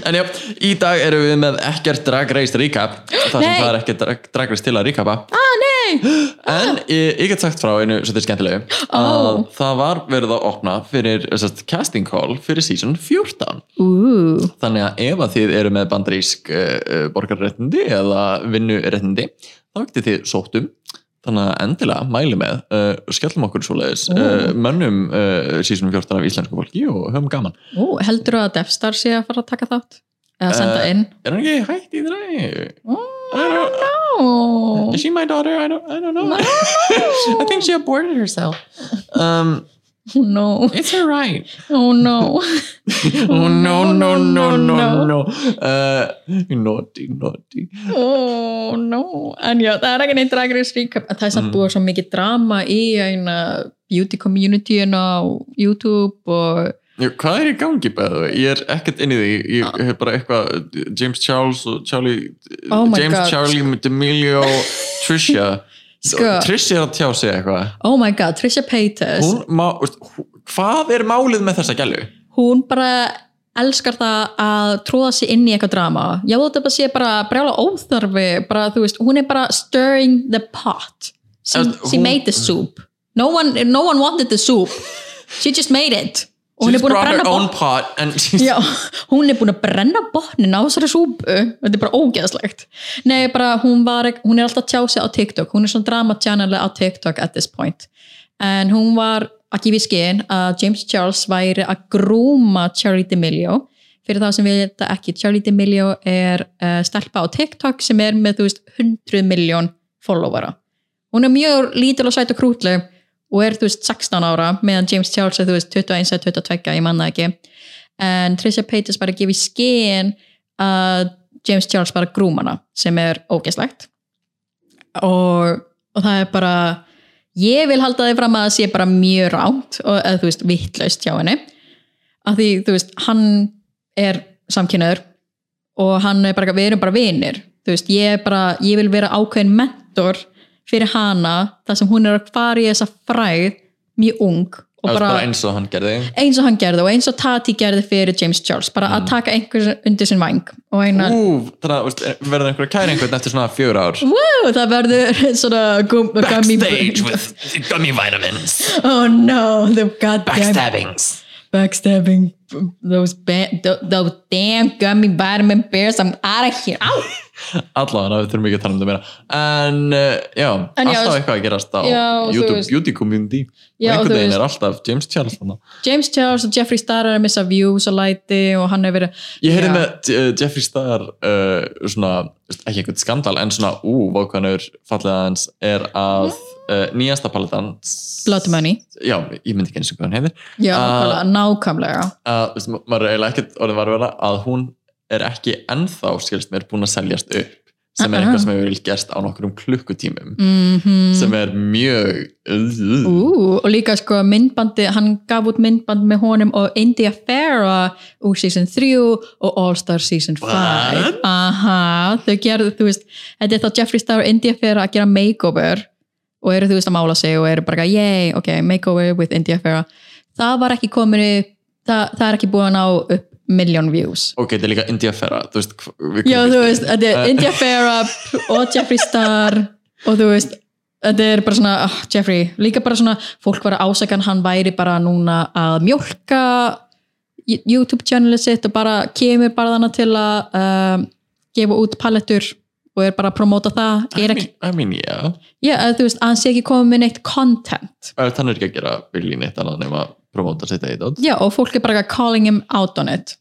S3: en já, í dag erum við með ekkert Drag Race recap það sem
S2: Nei.
S3: það er ekkert drag, drag Race til að recapa ah, en ég, ég get sagt frá einu svolítið skemmtilegu að
S2: Ó.
S3: það var verið að opna fyrir sest, casting call fyrir season 14
S2: Ooh.
S3: Þannig að ef að þið eru með bandarísk uh, borgarréttindi eða vinnuréttindi, þá getið þið sótt um. Þannig að endilega mæli með, uh, skellum okkur svoleiðis, uh, mönnum uh, sísunum 14 af íslensku fólki og höfum gaman.
S2: Ú, heldur þú að Defstar sé að fara að taka þátt eða senda
S3: Eh,
S2: inn
S3: Er hann ekki hægt í þeirra?
S2: oh.
S3: Is she my daughter? I don't, I don't know. I think she aborted herself. Um,
S2: no,
S3: it's her right.
S2: oh no
S3: Oh no, no, no, no,
S2: no.
S3: no. Uh, naughty, naughty.
S2: oh no en já, það er ekki neitt dragreis recap en það er samt
S3: Mm.
S2: búið svo mikið drama í eina beauty community á YouTube og
S3: Já, hvað er í gangi bæðu? Ég er ekkert inn í því, ég
S2: Ah.
S3: hef bara eitthvað James Charles og Charlie
S2: Oh my
S3: James
S2: God.
S3: Charlie, D'Amelio Trisha,
S2: Sko.
S3: Trisha er að tjá sig eitthvað
S2: oh my god, Trisha Paytas
S3: hún má, veist, hú- hvað er málið með þessa gælu?
S2: hún bara elskar það að tróða sig inn í eitthvað drama já þetta bara sé bara brjála óþarfi bara þú veist, hún er bara stirring the pot she,
S3: Þú veist,
S2: she
S3: hún-
S2: made the soup no one, no one wanted the soup she just made it og hún er búin að
S3: brought her
S2: brenna
S3: own
S2: botn
S3: pot and she's
S2: Já, hún er búin að brenna botnin á þessari súpu þetta er bara ógeðslegt nei, bara hún, var, ek- hún er alltaf að tjá sig á TikTok hún er svona drama channel á TikTok at this point en hún var að gefa í skinn að James Charles væri að grúma Charlie D'Amelio fyrir þá sem við þetta ekki, Charlie D'Amelio er uh, stelpa á TikTok sem er með þú veist 100 miljón followera hún er mjög lítil og sæt og krútleg og er þú veist 16 ára meðan James Charles er þú veist 21 eða 22, ég manna ekki en Trisha Paytas var að gefa í skinn að James Charles bara grúmana sem er ógeslegt og, og það er bara ég vil halda þið fram að það sé bara mjög ránt og eða þú veist vittlaust hjá henni af því þú veist hann er samkynnaður og hann er bara, við erum bara vinir þú veist, ég er bara, ég vil vera ákveðin mentor fyrir hana þar sem hún er að fara í þessa fræð mjög ung og
S3: Það er
S2: bara,
S3: bara eins og hann gerði
S2: eins og hann gerði og eins og Tati gerði fyrir James Charles bara
S5: Mm.
S2: að taka einhver undir sinn væng og eina,
S3: Ú, þannig að veist, verður einhver að kæra einhvern eftir svona fjögur ár
S2: wow, það verður svona gum, gummy
S5: Backstage with gummy vitamins.
S2: oh no, the goddamn
S5: Backstabbings.
S2: backstabbing those, ba- tho- those damn gummy vitamin bears I'm out of here Ow!
S3: Allavega, við þurfum ekki að tala um það meira En uh, já,
S2: En já,
S3: alltaf
S2: þú-
S3: eitthvað að gerast á
S2: Já, þú
S3: YouTube
S2: veist-
S3: beauty community
S2: Já,
S3: Og
S2: þú
S3: einhvern veginn
S2: veist-
S3: er alltaf James Charles þarna
S2: James Charles og Jeffrey Star er að missa views og læti og hann er verið
S3: Ég heyrði
S2: Já.
S3: með uh, Jeffrey Star uh, svona, veist, ekki einhvern skandal en svona, ú, vákvæðanur fallið aðeins er að uh, nýjasta paletan
S2: Blood Money
S3: Já, ég myndi ekki eins og hvað hann heitir
S2: Já,
S3: Ah.
S2: uh, nákvæmlega
S3: að, veist, ma- maður er eiginlega ekkert orðin varvera að hún er ekki ennþá, skilst mér, búin að seljast upp sem er
S2: Uh-uh.
S3: eitthvað sem hefur verið gerst á nokkrum klukkutímum
S2: mm
S3: sem er mjög
S2: Ú, og líka sko myndbandi, hann gaf út myndband með honum og India Farah úr season 3 og All Star season 5
S3: What?
S2: aha, þau gerðu, þú veist þetta er þá Jeffree Star og India Farah að gera makeover og eru þú veist að mála sig og eru bara, yay, ok, makeover with India Farah, það var ekki komin upp, það, það er ekki búin á upp million views
S3: Ok, þetta er líka India Ferra þú veist, hv- við-
S2: Já, þú veist, þetta
S3: Eh.
S2: er India Farah og Jeffree Star og þú veist, þetta er bara svona oh, Jeffrey, líka bara svona fólk var að ásakan hann væri bara núna að mjólka YouTube channelið sitt og bara kemur bara þannig til að um, gefa út palettur og er bara að promóta það
S3: I
S2: er
S3: mean,
S2: ekki,
S3: I mean, já
S2: já, að þú veist, að hann sé ekki komið með neitt content
S3: Ef Hann er ekki að gera viljið neitt annað nema að promóta sitt eitt átt
S2: já, og fólk er bara calling him out on it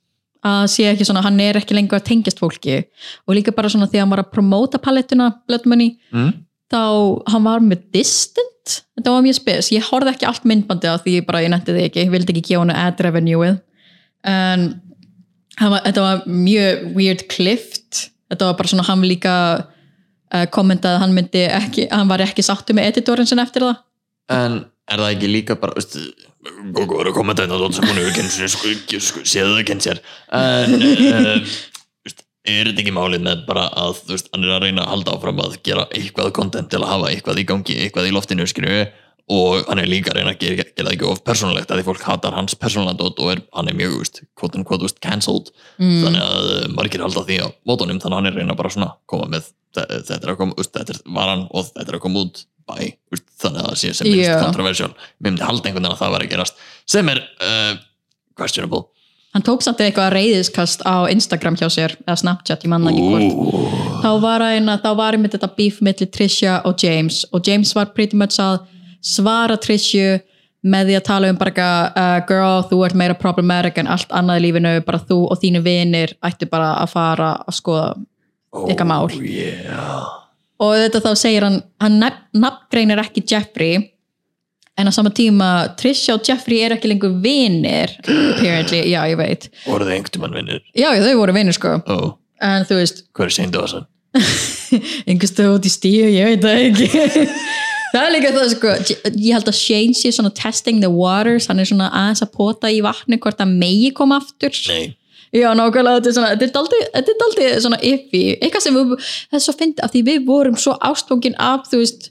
S2: að sé ekki svona, hann er ekki lengur að tengjast fólki og líka bara svona því að hann var að promóta palettuna Blood Money
S3: mm?
S2: þá hann var með distant þetta var mjög spes, ég horfði ekki allt myndbandið á því ég bara, ég nefndi því ekki, ég vildi ekki gefa hann ad revenueið en hann var, þetta var mjög weird klift, þetta var bara svona hann líka uh, kommentaði að hann myndi ekki, hann var ekki sáttu með editorinn sinna eftir það
S3: En er það ekki líka bara veist,
S5: Gógó er að koma þetta þátt sem hún hefur kynnt sér, sko, ekki, sko, séð þau kynnt sér. En, uh, veist, er þetta ekki málið með bara að, þú veist, hann er að reyna að halda áfram að gera eitthvað kontent til að hafa eitthvað í gangi, eitthvað í loftinu, skilju, og hann er líka að reyna að gera, gera það ekki of persónulegt, að því fólk hatar hans persónulega dót og er, hann er mjög, þú veist, quote unquote, þú veist, cancelled,
S3: Mm.
S5: þannig að eh, margir halda því á mótunum, þannig að hann er að reyna bara svona að koma með, þe- þetta er að koma, þú veist, þetta er varan og þetta er að koma út, bæ, þú veist, þannig að það sé sem minnst
S2: Já.
S5: kontroversiál mér myndi halda einhvern veginn að það væri að gerast sem er uh, questionable
S2: hann tók samt eitthvað reyðiskast á Instagram hjá sér, eða Snapchat, ég manna ekki hvort þá var eina, þá var einmitt þetta beef milli Trisha og James og James var pretty much að svara Trisha með því að tala um bara eitthvað, uh, girl, þú ert meira problematic en allt annað í lífinu, bara þú og þínu vinir ættu bara að fara að skoða eitthvað mál og þetta þá segir hann hann nafngreinir ekki Jeffrey en á sama tíma Trisha og Jeffrey er ekki lengur vinir apparently, já ég veit
S5: voru þau einhvern mann vinnir
S2: já já, þau voru vinir sko
S5: oh,
S2: en þú veist,
S5: hver er seindu þessan
S2: einhvers stöð út í stíu, ég veit það ekki það er líka það sko ég held að Shane sé svona testing the waters hann er svona aðeins að pota í vatni hvort að megi koma aftur
S5: nei,
S2: Já, nákvæmlega, þetta er svona, þetta er daldið, þetta er daldið svona yffi, eitthvað sem við, það er svo fyndið af því við vorum svo ástfóngin af, þú veist,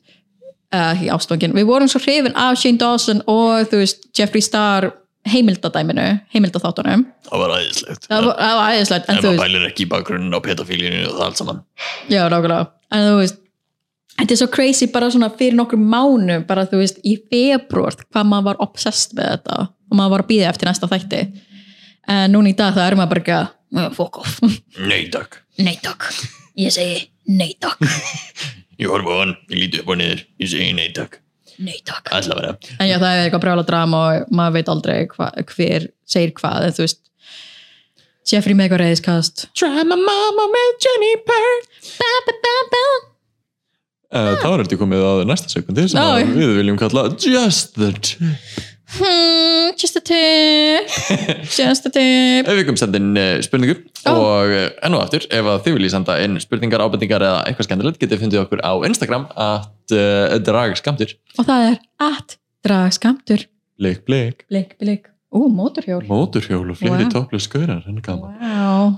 S2: uh, ekki ástfóngin, við vorum svo hrifin af Shane Dawson og, þú veist, Jeffree Star heimildadæminu, heimildaþáttunum,
S5: það var æðislegt
S2: það var, það var aðeinslegt, en
S5: en
S2: þú
S5: maður
S2: veist,
S5: bælir ekki í bakgrunin á petafílinu og það allt saman
S2: já, nákvæmlega, en þú veist, þetta er svo crazy bara svona fyrir nokkur mánu, bara þú veist, í februar, hvað maður var obsessed með þetta og maður var að býða eftir næsta þætti, en núna í dag það er maður bara ekki að, "Uh, fuck off,
S5: nei takk,
S2: nei takk, ég segi nei takk.
S5: ég horf á hann, ég líti upp og niður ég segi nei takk,
S2: Nei takk.
S5: allavega
S2: En já, það er eitthvað brjála drama og maður veit aldrei hva, hver segir hvað, en þú veist Jeffrey með eitthvað reyðiskast
S3: uh, Þá er þetta komið að næsta sekundi sem
S2: Já.
S3: að við viljum kalla Just the Tip
S2: hmm, just a tip just a tip
S3: Við vikum senda inn eh, spurningur
S2: Já.
S3: og eh, enn og aftur, ef að þið viljið senda inn spurningar, ábendingar eða eitthvað skemmtilegt getið fundið okkur á Instagram at uh, dragskamtur
S2: og það er at dragskamtur
S3: Bleik, bleik,
S2: blik, blik, ú, móturhjól
S3: móturhjól og fleiri
S2: Vá.
S3: wow. topplöð skaurar, henni gaman
S2: wow.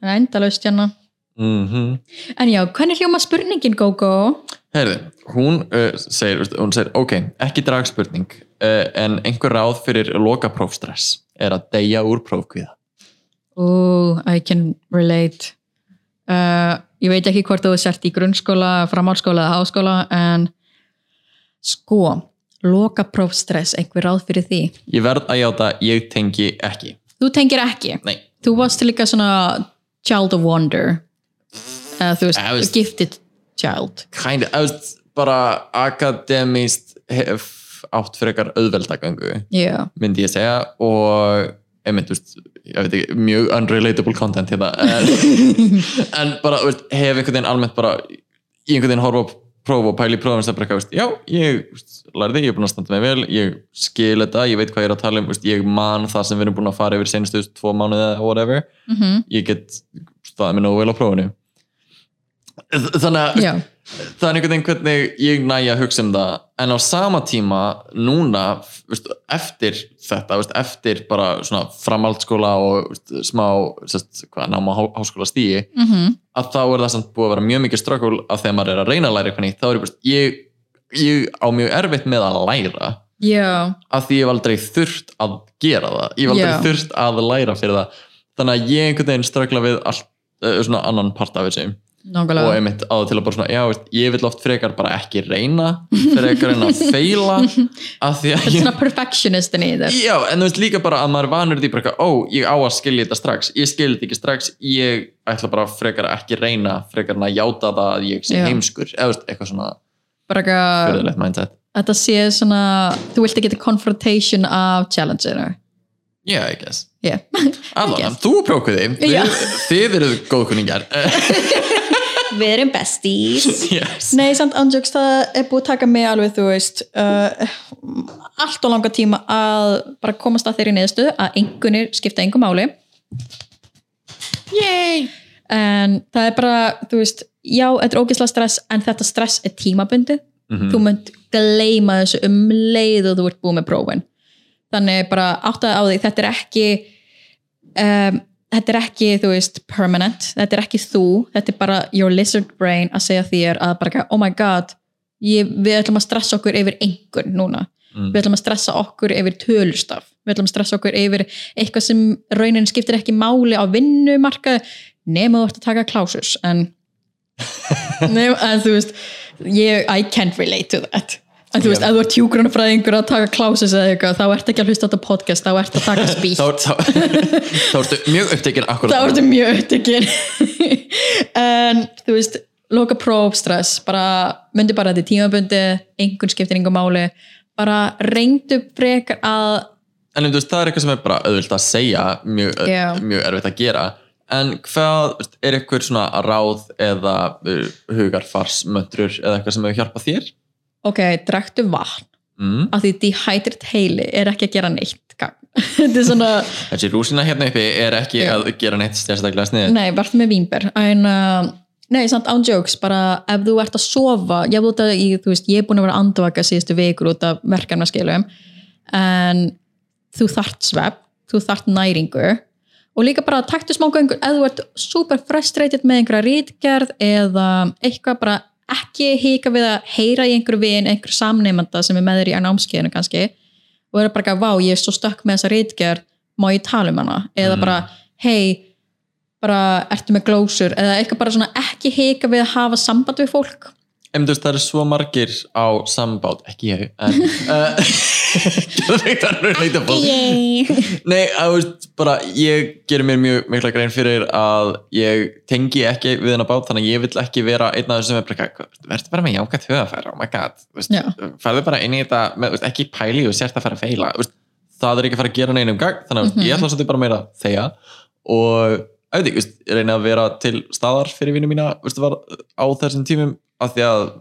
S2: það er endalaust hérna
S3: mm
S2: en já, hvernig hljóma spurningin Gogo?
S3: Herði, hún uh, segir, veist, hún segir, ok, ekki dragspurning uh, en einhver ráð fyrir lokaprófstress er að deyja úr prófkvíða.
S2: Ooh, I can relate. Uh, ég veit ekki hvort þú sért í grunnskóla, framhalskóla eða háskóla, en sko, lokaprófstress, einhver ráð fyrir því.
S3: Ég verð að játa, ég tengi ekki.
S2: Þú tengir ekki.
S3: Nei.
S2: Þú varst líka svona child of wonder. Uh, þú veist,
S3: Ég veist-
S2: gifted child.
S3: Kind of, eða bara akademist hef átt fyrir eitthvað auðveldagöngu,
S2: Yeah.
S3: myndi ég segja og, einmitt, þú veist, ég veit ekki, mjög unrelatable content hérna, en, en bara, þú veist, hef einhvern veginn almennt bara, í einhvern veginn horfa á prófa og pæli prófum sem bara eitthvað, þú veist, já, ég þú veist, lærði, ég er búin að standa mig vel, ég skil þetta, ég veit hvað ég er að tala um, þú veist, ég man það sem við erum búin að fara yfir senustu þú veist, tvo mánuði eða whatever,
S2: Mm -hmm.
S3: ég get staðið mig nógu vel á prófinu. Þ- Þannig að, þú veist,
S2: Já.
S3: það er einhvern veginn hvernig ég næja að hugsa um það en á sama tíma núna veist, eftir þetta, veist, eftir bara svona framhaldsskóla og veist, smá sest, hvað, náma háskóla stíi
S2: Mm
S3: að þá er það samt búið að vera mjög mikið ströggul að þegar maður er að reyna að læra eitthvað nýtt þá er ég, bara, ég, ég á mjög erfitt með að læra
S2: Já.
S3: að því ég hef aldrei þurft að gera það ég hef aldrei
S2: Já.
S3: þurft að læra fyrir það þannig að ég einhvern veginn ströggla við allt, eh, svona annan part af þessu og
S2: Nákvæmlega.
S3: einmitt á það til að bara svona já, veist, ég vil oft frekar bara ekki reyna frekar en að feila af því
S2: Þetta
S3: að
S2: er
S3: ég
S2: svona perfectionistin í þér.
S3: já, en þú veist líka bara að maður er vanur því bara eitthvað, ó, ég á að skilja þetta strax ég skilja þetta ekki strax, ég ætla bara frekar að ekki reyna, frekar en að játa það að ég sé
S2: Já.
S3: heimskur, eða þú veist, eitthvað svona
S2: Bara eitthvað-
S3: fyrirlegt mindset
S2: þetta sé svona, þú vilt ekki geta confrontation af challengeinu.
S3: já, yeah, I guess,
S2: Yeah.
S3: allan, þú prókuði
S2: Já.
S3: þið, þið eruð góðkunningjar
S4: Við erum besties.
S3: yes.
S2: Nei, samt andjöks, það er búið að taka mig alveg, þú veist, uh, allt og langa tíma að bara komast að þeirri neðstu að engunir skipta engum máli. Yay! En það er bara, þú veist, já, þetta er ógeðslega stress, en þetta stress er tímabundi. Þú munt gleyma þessu um leið og þú ert búið með prófin. Þannig bara áttaði á því, þetta er ekki... Um, þetta er ekki, þú veist, permanent þetta er ekki þú, þetta er bara your lizard brain að segja þér að bara oh my god, ég, við ætlum að stressa okkur yfir einhvern núna
S3: Mm.
S2: við ætlum að stressa okkur yfir tölustaf við ætlum að stressa okkur yfir eitthvað sem raunin skiptir ekki máli á vinnumarka nema þú ert að taka klásus en, nema, en þú veist ég, I can't relate to that en þú veist, ef þú ert hjúgrunafræðingur að taka klásus eða eitthvað, þá ert ekki að hlusta á þetta podcast, þá ert að taka spýtt
S3: þá, þá, þá ertu mjög upptekinn akkurat
S2: þá ertu mjög upptökin en þú veist loka prófstress, bara myndi bara að þetta er tímabundi, einhvern skiptir engum máli, bara reyndu frekar að
S3: en um, veist, það er eitthvað sem er bara auðvilt að segja mjög,
S2: Já.
S3: mjög erfitt að gera en hvað, þú veist, er eitthvað svona ráð eða uh, hugarfarsmöntrur eða eitthvað sem hefur hjálpað þér
S2: ok, drektu vatn
S3: mm.
S2: af því dehydrate heili er ekki að gera neitt gagn. þetta er svona,
S3: þessi rúsina hérna uppi er ekki
S2: Já.
S3: að gera neitt sérstaklega sniður
S2: nei, verð með vínber en uh, nei, samt án jokes bara ef þú ert að sofa ég, út að, ég, þú veist, ég er búin að vera andvaka síðustu vikur út af verkefnaskilum en þú þart svepp, þú þart næringu og líka bara taktu smá göngur ef þú ert super frustrated með einhverja rítgerð eða eitthvað bara ekki hika við að heyra í einhverju vin, einhverju samneimanda sem er með þér í námskeiðinu kannski og eru bara ekki að vá, ég er svo stökk með þessa rítgerð má ég tala um hana eða
S3: Mhm.
S2: bara, hei bara ertu með glósur eða eitthvað bara svona ekki hika við að hafa samband við fólk
S3: en þú veist, það eru svo margir á sambát, ekki ég en uh, geðveikt unrelatable.
S4: Yay.
S3: Nei, að þú veist, bara ég gerir mér mjög mikla grein fyrir að ég tengi ekki við hennar bát þannig að ég vill ekki vera einn af þessum sem er bara eitthvað, "Hvað, verður bara með jákvæmt höfafæra, oh my god þú veist,
S2: Já.
S3: farðu bara inn í þetta, með, þú veist, ekki pæli og sért að fara að feila þú veist, það er ekki að fara að gera neinum gang þannig að mm
S2: Mhm.
S3: ég ætla svolítið bara meira að þegja og auðvitað, þú veist, reyna að vera til staðar fyrir vinnu mína þú veist, var, á þessum tímum af því að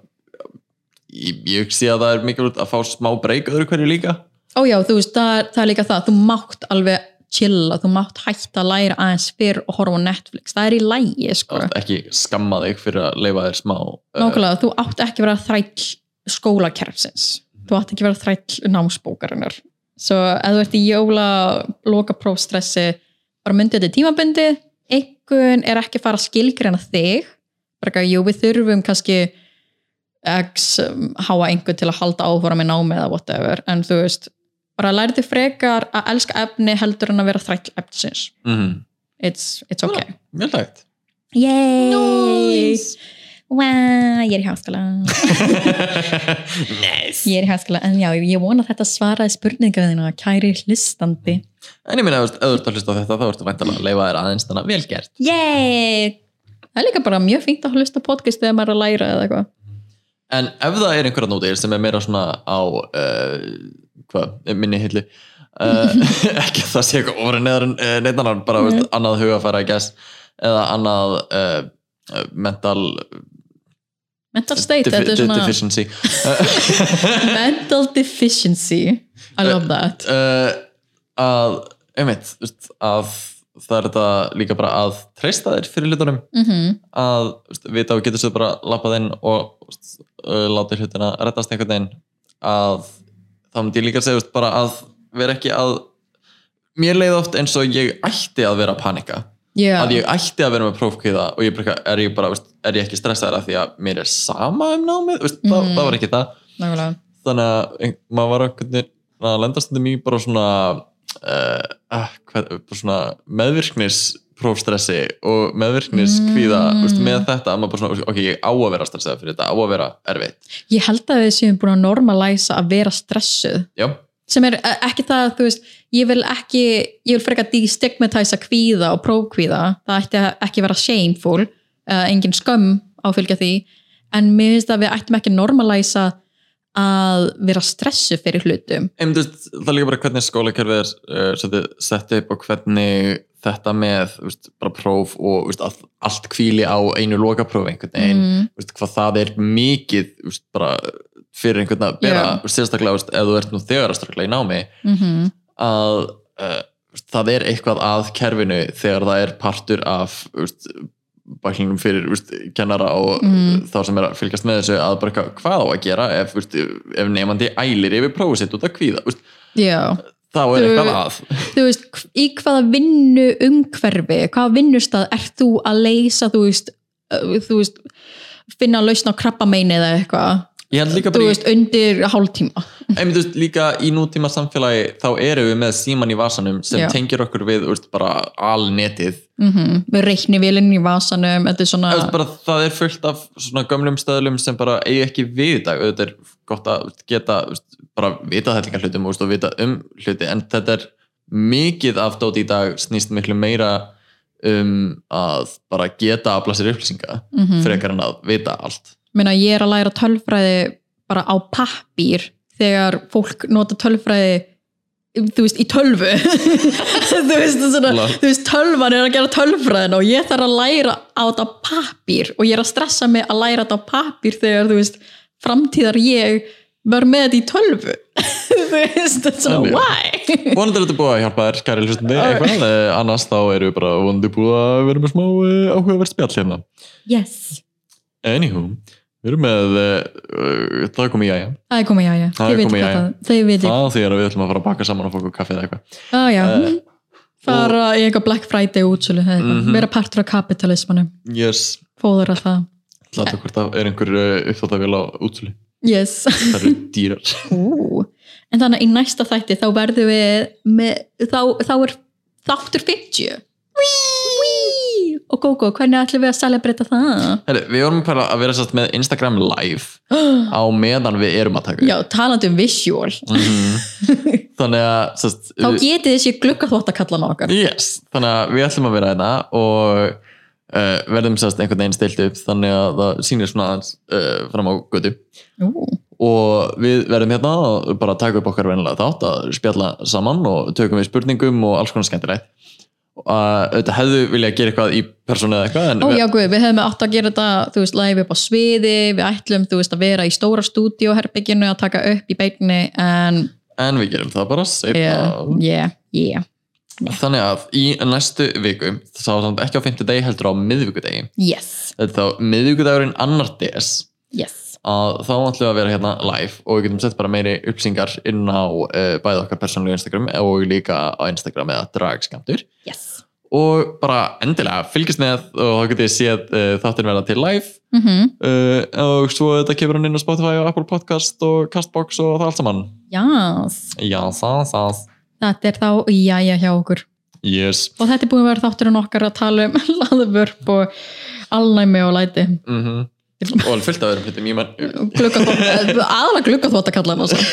S3: ég, ég sé að það er mikilvægt að fá smá breyk öðru hverju líka
S2: Ó já, þú veist, það, er- það er líka það, þú mátt alveg chilla, þú mátt hætta að læra aðeins fyrr og horfa á Netflix, það er í lægi sko.
S3: Átt ekki skamma þig fyrir að leifa þér smá eh,
S2: Nákvæmlega, þú átt ekki að vera þræll skólakerfsins, þú átt ekki að vera þræll námsbókarinnar. Svo ef þú ert í jóla loka prófstressi, bara myndi þetta tímabundi, einhvern er ekki að fara að skilgreina þig, bara ekki að jú við þurfum kannski x um, háa einhvern til að halda áfóra með námi eða whatever, en þú veist, bara lærið þig frekar að elska efni heldur en að vera þræll efnisins.
S3: mhm,
S2: It's, it's okay.
S3: Mjög lægt
S4: Yay! Wow, ég er í háskóla.
S5: Nice.
S4: Ég er í háskóla, en já, ég vona að þetta svaraði spurningaðina, kæri hlustandi.
S3: En ég minna, ef þú ert að hlusta á þetta þá ertu væntanlega að leifa þér aðeins þannig að vel gert
S4: Yay!
S2: Það er líka bara mjög fínt að hlusta á podcast þegar maður er að læra eða eitthvað.
S3: En ef það er einhverja nótir sem er meira svona á uh, hvað, minni hillu uh, ekki að það sé eitthvað ofra neðar en uh, neitt annar, bara
S2: Mhm.
S3: veist, annað hugafæra I guess, eða annað uh, mental
S2: Mental state,
S3: defi-
S2: þetta er svona
S3: deficiency
S2: mental deficiency I love that
S3: uh, að, einmitt þú veist, að það er þetta líka bara að treysta þér fyrir hlutunum
S2: mm
S3: að þú veist, vita og getur svo bara lappað inn og þú veist, uh, láta hlutina rettast einhvern veginn að þá myndi ég líka að segja þú veist, bara að vera ekki að mér leið oft eins og ég ætti að vera að panika
S2: yeah.
S3: að ég ætti að vera með prófkvíða og ég bara, er ég bara, þú veist, er ég ekki stressaður af því að mér er sama um námið þú veist, það,
S2: Mm.
S3: það var ekki það
S2: nákvæmlega.
S3: þannig að ein- maður var einhvern veginn að lenda stundum í bara svona uh, uh, hvað, bara svona meðvirknis prófstressi og meðvirknis kvíða
S2: Mm.
S3: mm. með þetta að maður bara svona, ok, ég á að vera stressað fyrir þetta, á að vera erfitt
S2: ég held að við séum búin að normalæsa að vera stressuð
S3: já,
S2: sem er eh, ekki það að þú veist ég vil ekki, ég vil frekar destigmatæsa kvíða og prófkvíða það ætti að ekki vera shameful uh, engin skömm áfylgja því en mér finnst að við ættum ekki að normalæsa að vera stressu fyrir hlutum
S3: einmitt þú veist, það er líka bara hvernig skólakerfið er uh, svolítið sett upp og hvernig þetta með, þú veist, bara próf og þú veist, að allt kvíli á einu lokapróf einhvern veginn,
S2: mm,
S3: þú veist, hvað það er mikið þú veist, bara fyrir einhvern að bera
S2: Já.
S3: yeah. sérstaklega, þú veist, ef þú ert nú þegar að ströggla í námi
S2: mm -hmm.
S3: að uh, það er eitthvað að kerfinu þegar það er partur af úst, bæklingum fyrir úst, kennara og
S2: Mm.
S3: mm. þá sem er að fylgjast með þessu að bara eitthvað, hvað á að gera ef, úst, ef nefandi ælir yfir prófið sitt út að kvíða úst,
S2: já
S3: þá er
S2: Þú-
S3: eitthvað að
S2: þú veist, í hvaða vinnu umhverfi, hvaða vinnustað ert þú að leysa, þú veist, uh, þú veist finna að lausna á krabbameini eða eitthvað,
S3: ég held líka
S2: þú
S3: bara í,
S2: veist, undir hálftíma.
S3: einmitt, úst, líka í nútíma samfélagi þá eru við með síman í vasanum sem
S2: Já.
S3: tengir okkur við úst, bara alnetið
S2: Mm -hmm. Við reikni í vasanum, þetta er svona,
S3: Þú veist, bara, það er fullt af svona gömlum stöðlum sem bara eigi ekki við í dag auðvitað er gott að þú veist, geta þú veist, bara vita þetta líka hlutum þú veist, og vita um hluti en þetta er mikið af dót í dag snýst miklu meira um að bara geta að sér upplýsinga
S2: mm
S3: frekar en að vita allt
S2: Meina, ég er að læra tölfræði bara á pappír þegar fólk nota tölfræði þú veist, í tölvu þú veist, svona,
S3: Lol.
S2: þú veist, tölvan er að gera tölfræðin og ég þarf að læra á þetta á pappír og ég er að stressa mig að læra þetta á pappír þegar, þú veist, framtíðar ég var með þetta í tölvu þú veist, þetta er svona,
S3: Alveg.
S2: why?
S3: vonandi er þetta búið að hjálpa þér kæri hlustundi eitthvað, eh, annars þá erum við bara vonandi búið að vera með smá eh, áhugavert spjall hérna
S4: Yes.
S3: anywho, við erum með uh, það kom í jæja,
S2: Það er komið, já, já,
S3: Það
S2: þau
S3: er
S2: veit
S3: komið,
S2: hvað
S3: já, já.
S2: það þau veit,
S3: það því að við ætlum að fara að baka saman og fá okkur kaffið eða eitthvað
S2: já, já
S3: Eh,
S2: fara í eitthvað Black Friday útsölu mm
S3: Mhm.
S2: vera partur af kapitalismanum
S3: Yes,
S2: fóður að það,
S3: hlættu hvort það er einhver uppþáttavél á útsölu.
S2: yes
S3: Það eru dýrar.
S2: Ú, en þannig að í næsta þætti þá verðum við með, þá, þá er þáttur 50 Whee! og Gógó, hvernig ætlum við að celebrata það?
S3: Heri, við vorum bara að vera satt með Instagram live á meðan við erum að taka.
S2: Já, talandi um visual
S3: Mm. Þannig að, sest,
S2: þá getið þessi glugga þvótt að kalla nokkar
S3: yes, þannig að við ætlum að vera þetta og uh, verðum sest, einhvern veginn stilt upp þannig að það sýnir svona aðeins uh, fram á götu. og við verðum hérna og bara taka upp okkar venlega þátt að spjalla saman og tökum við spurningum og alls konar skemmtilegt Uh, auðvitað hefðu vilja gera eitthvað í persónu eða eitthvað en
S2: Ó
S3: við-
S2: já guð, við hefum átt að gera þetta þú veist, live upp á sviði, við ætlum þú veist, að vera í stóra stúdíóherbygginu að taka upp í beinni en
S3: en við gerum það bara safe
S2: yeah,
S3: now.
S2: yeah, yeah,
S3: þannig að í næstu viku þá samt ekki á fimmtudegi heldur á miðvikudegi
S2: yes,
S3: þetta er þá miðvikudagurinn annar DS
S2: yes
S3: að þá ætlum við að vera hérna live og við getum sett bara meiri upplýsingar inn á uh, bæði okkar persónlegu Instagram og líka á Instagram eða dragskamtur
S2: yes,
S3: og bara endilega fylgist með og þá getið séð uh, þáttin verða til live
S2: mm -hmm.
S3: uh, og svo þetta kemur hann inn á Spotify og Apple Podcast og Castbox og það allt saman
S2: yes
S3: já, það, það,
S2: Þetta er þá jæja hjá okkur.
S3: yes
S2: Og þetta er búin að vera þátturinn okkar að tala um laðvörp og alnæmi og læti.
S3: mm og alveg fullt af öðrum hlutum ég menn
S2: Gluggaþvott, aðla gluggaþvott að eh, kalla það samt.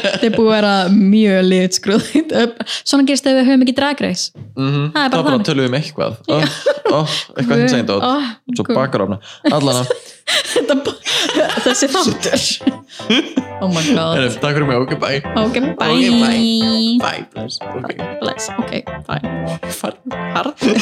S2: Þetta er búin að vera mjög litskruð. Svona gerist ef við höfum ekki dragreis.
S3: Mhm.
S2: Það er bara
S3: það bara
S2: þannig.
S3: tölum við um eitthvað oh, oh, eitthvað hins einn dót svo bakar ofna allana
S2: Þessi þáttur. Oh my god.
S3: takk fyrir mig, ok, bye
S2: Ok, bye.
S3: Ok, bye. bye, bless, ok
S2: Bless, ok, bye.
S3: Farðu.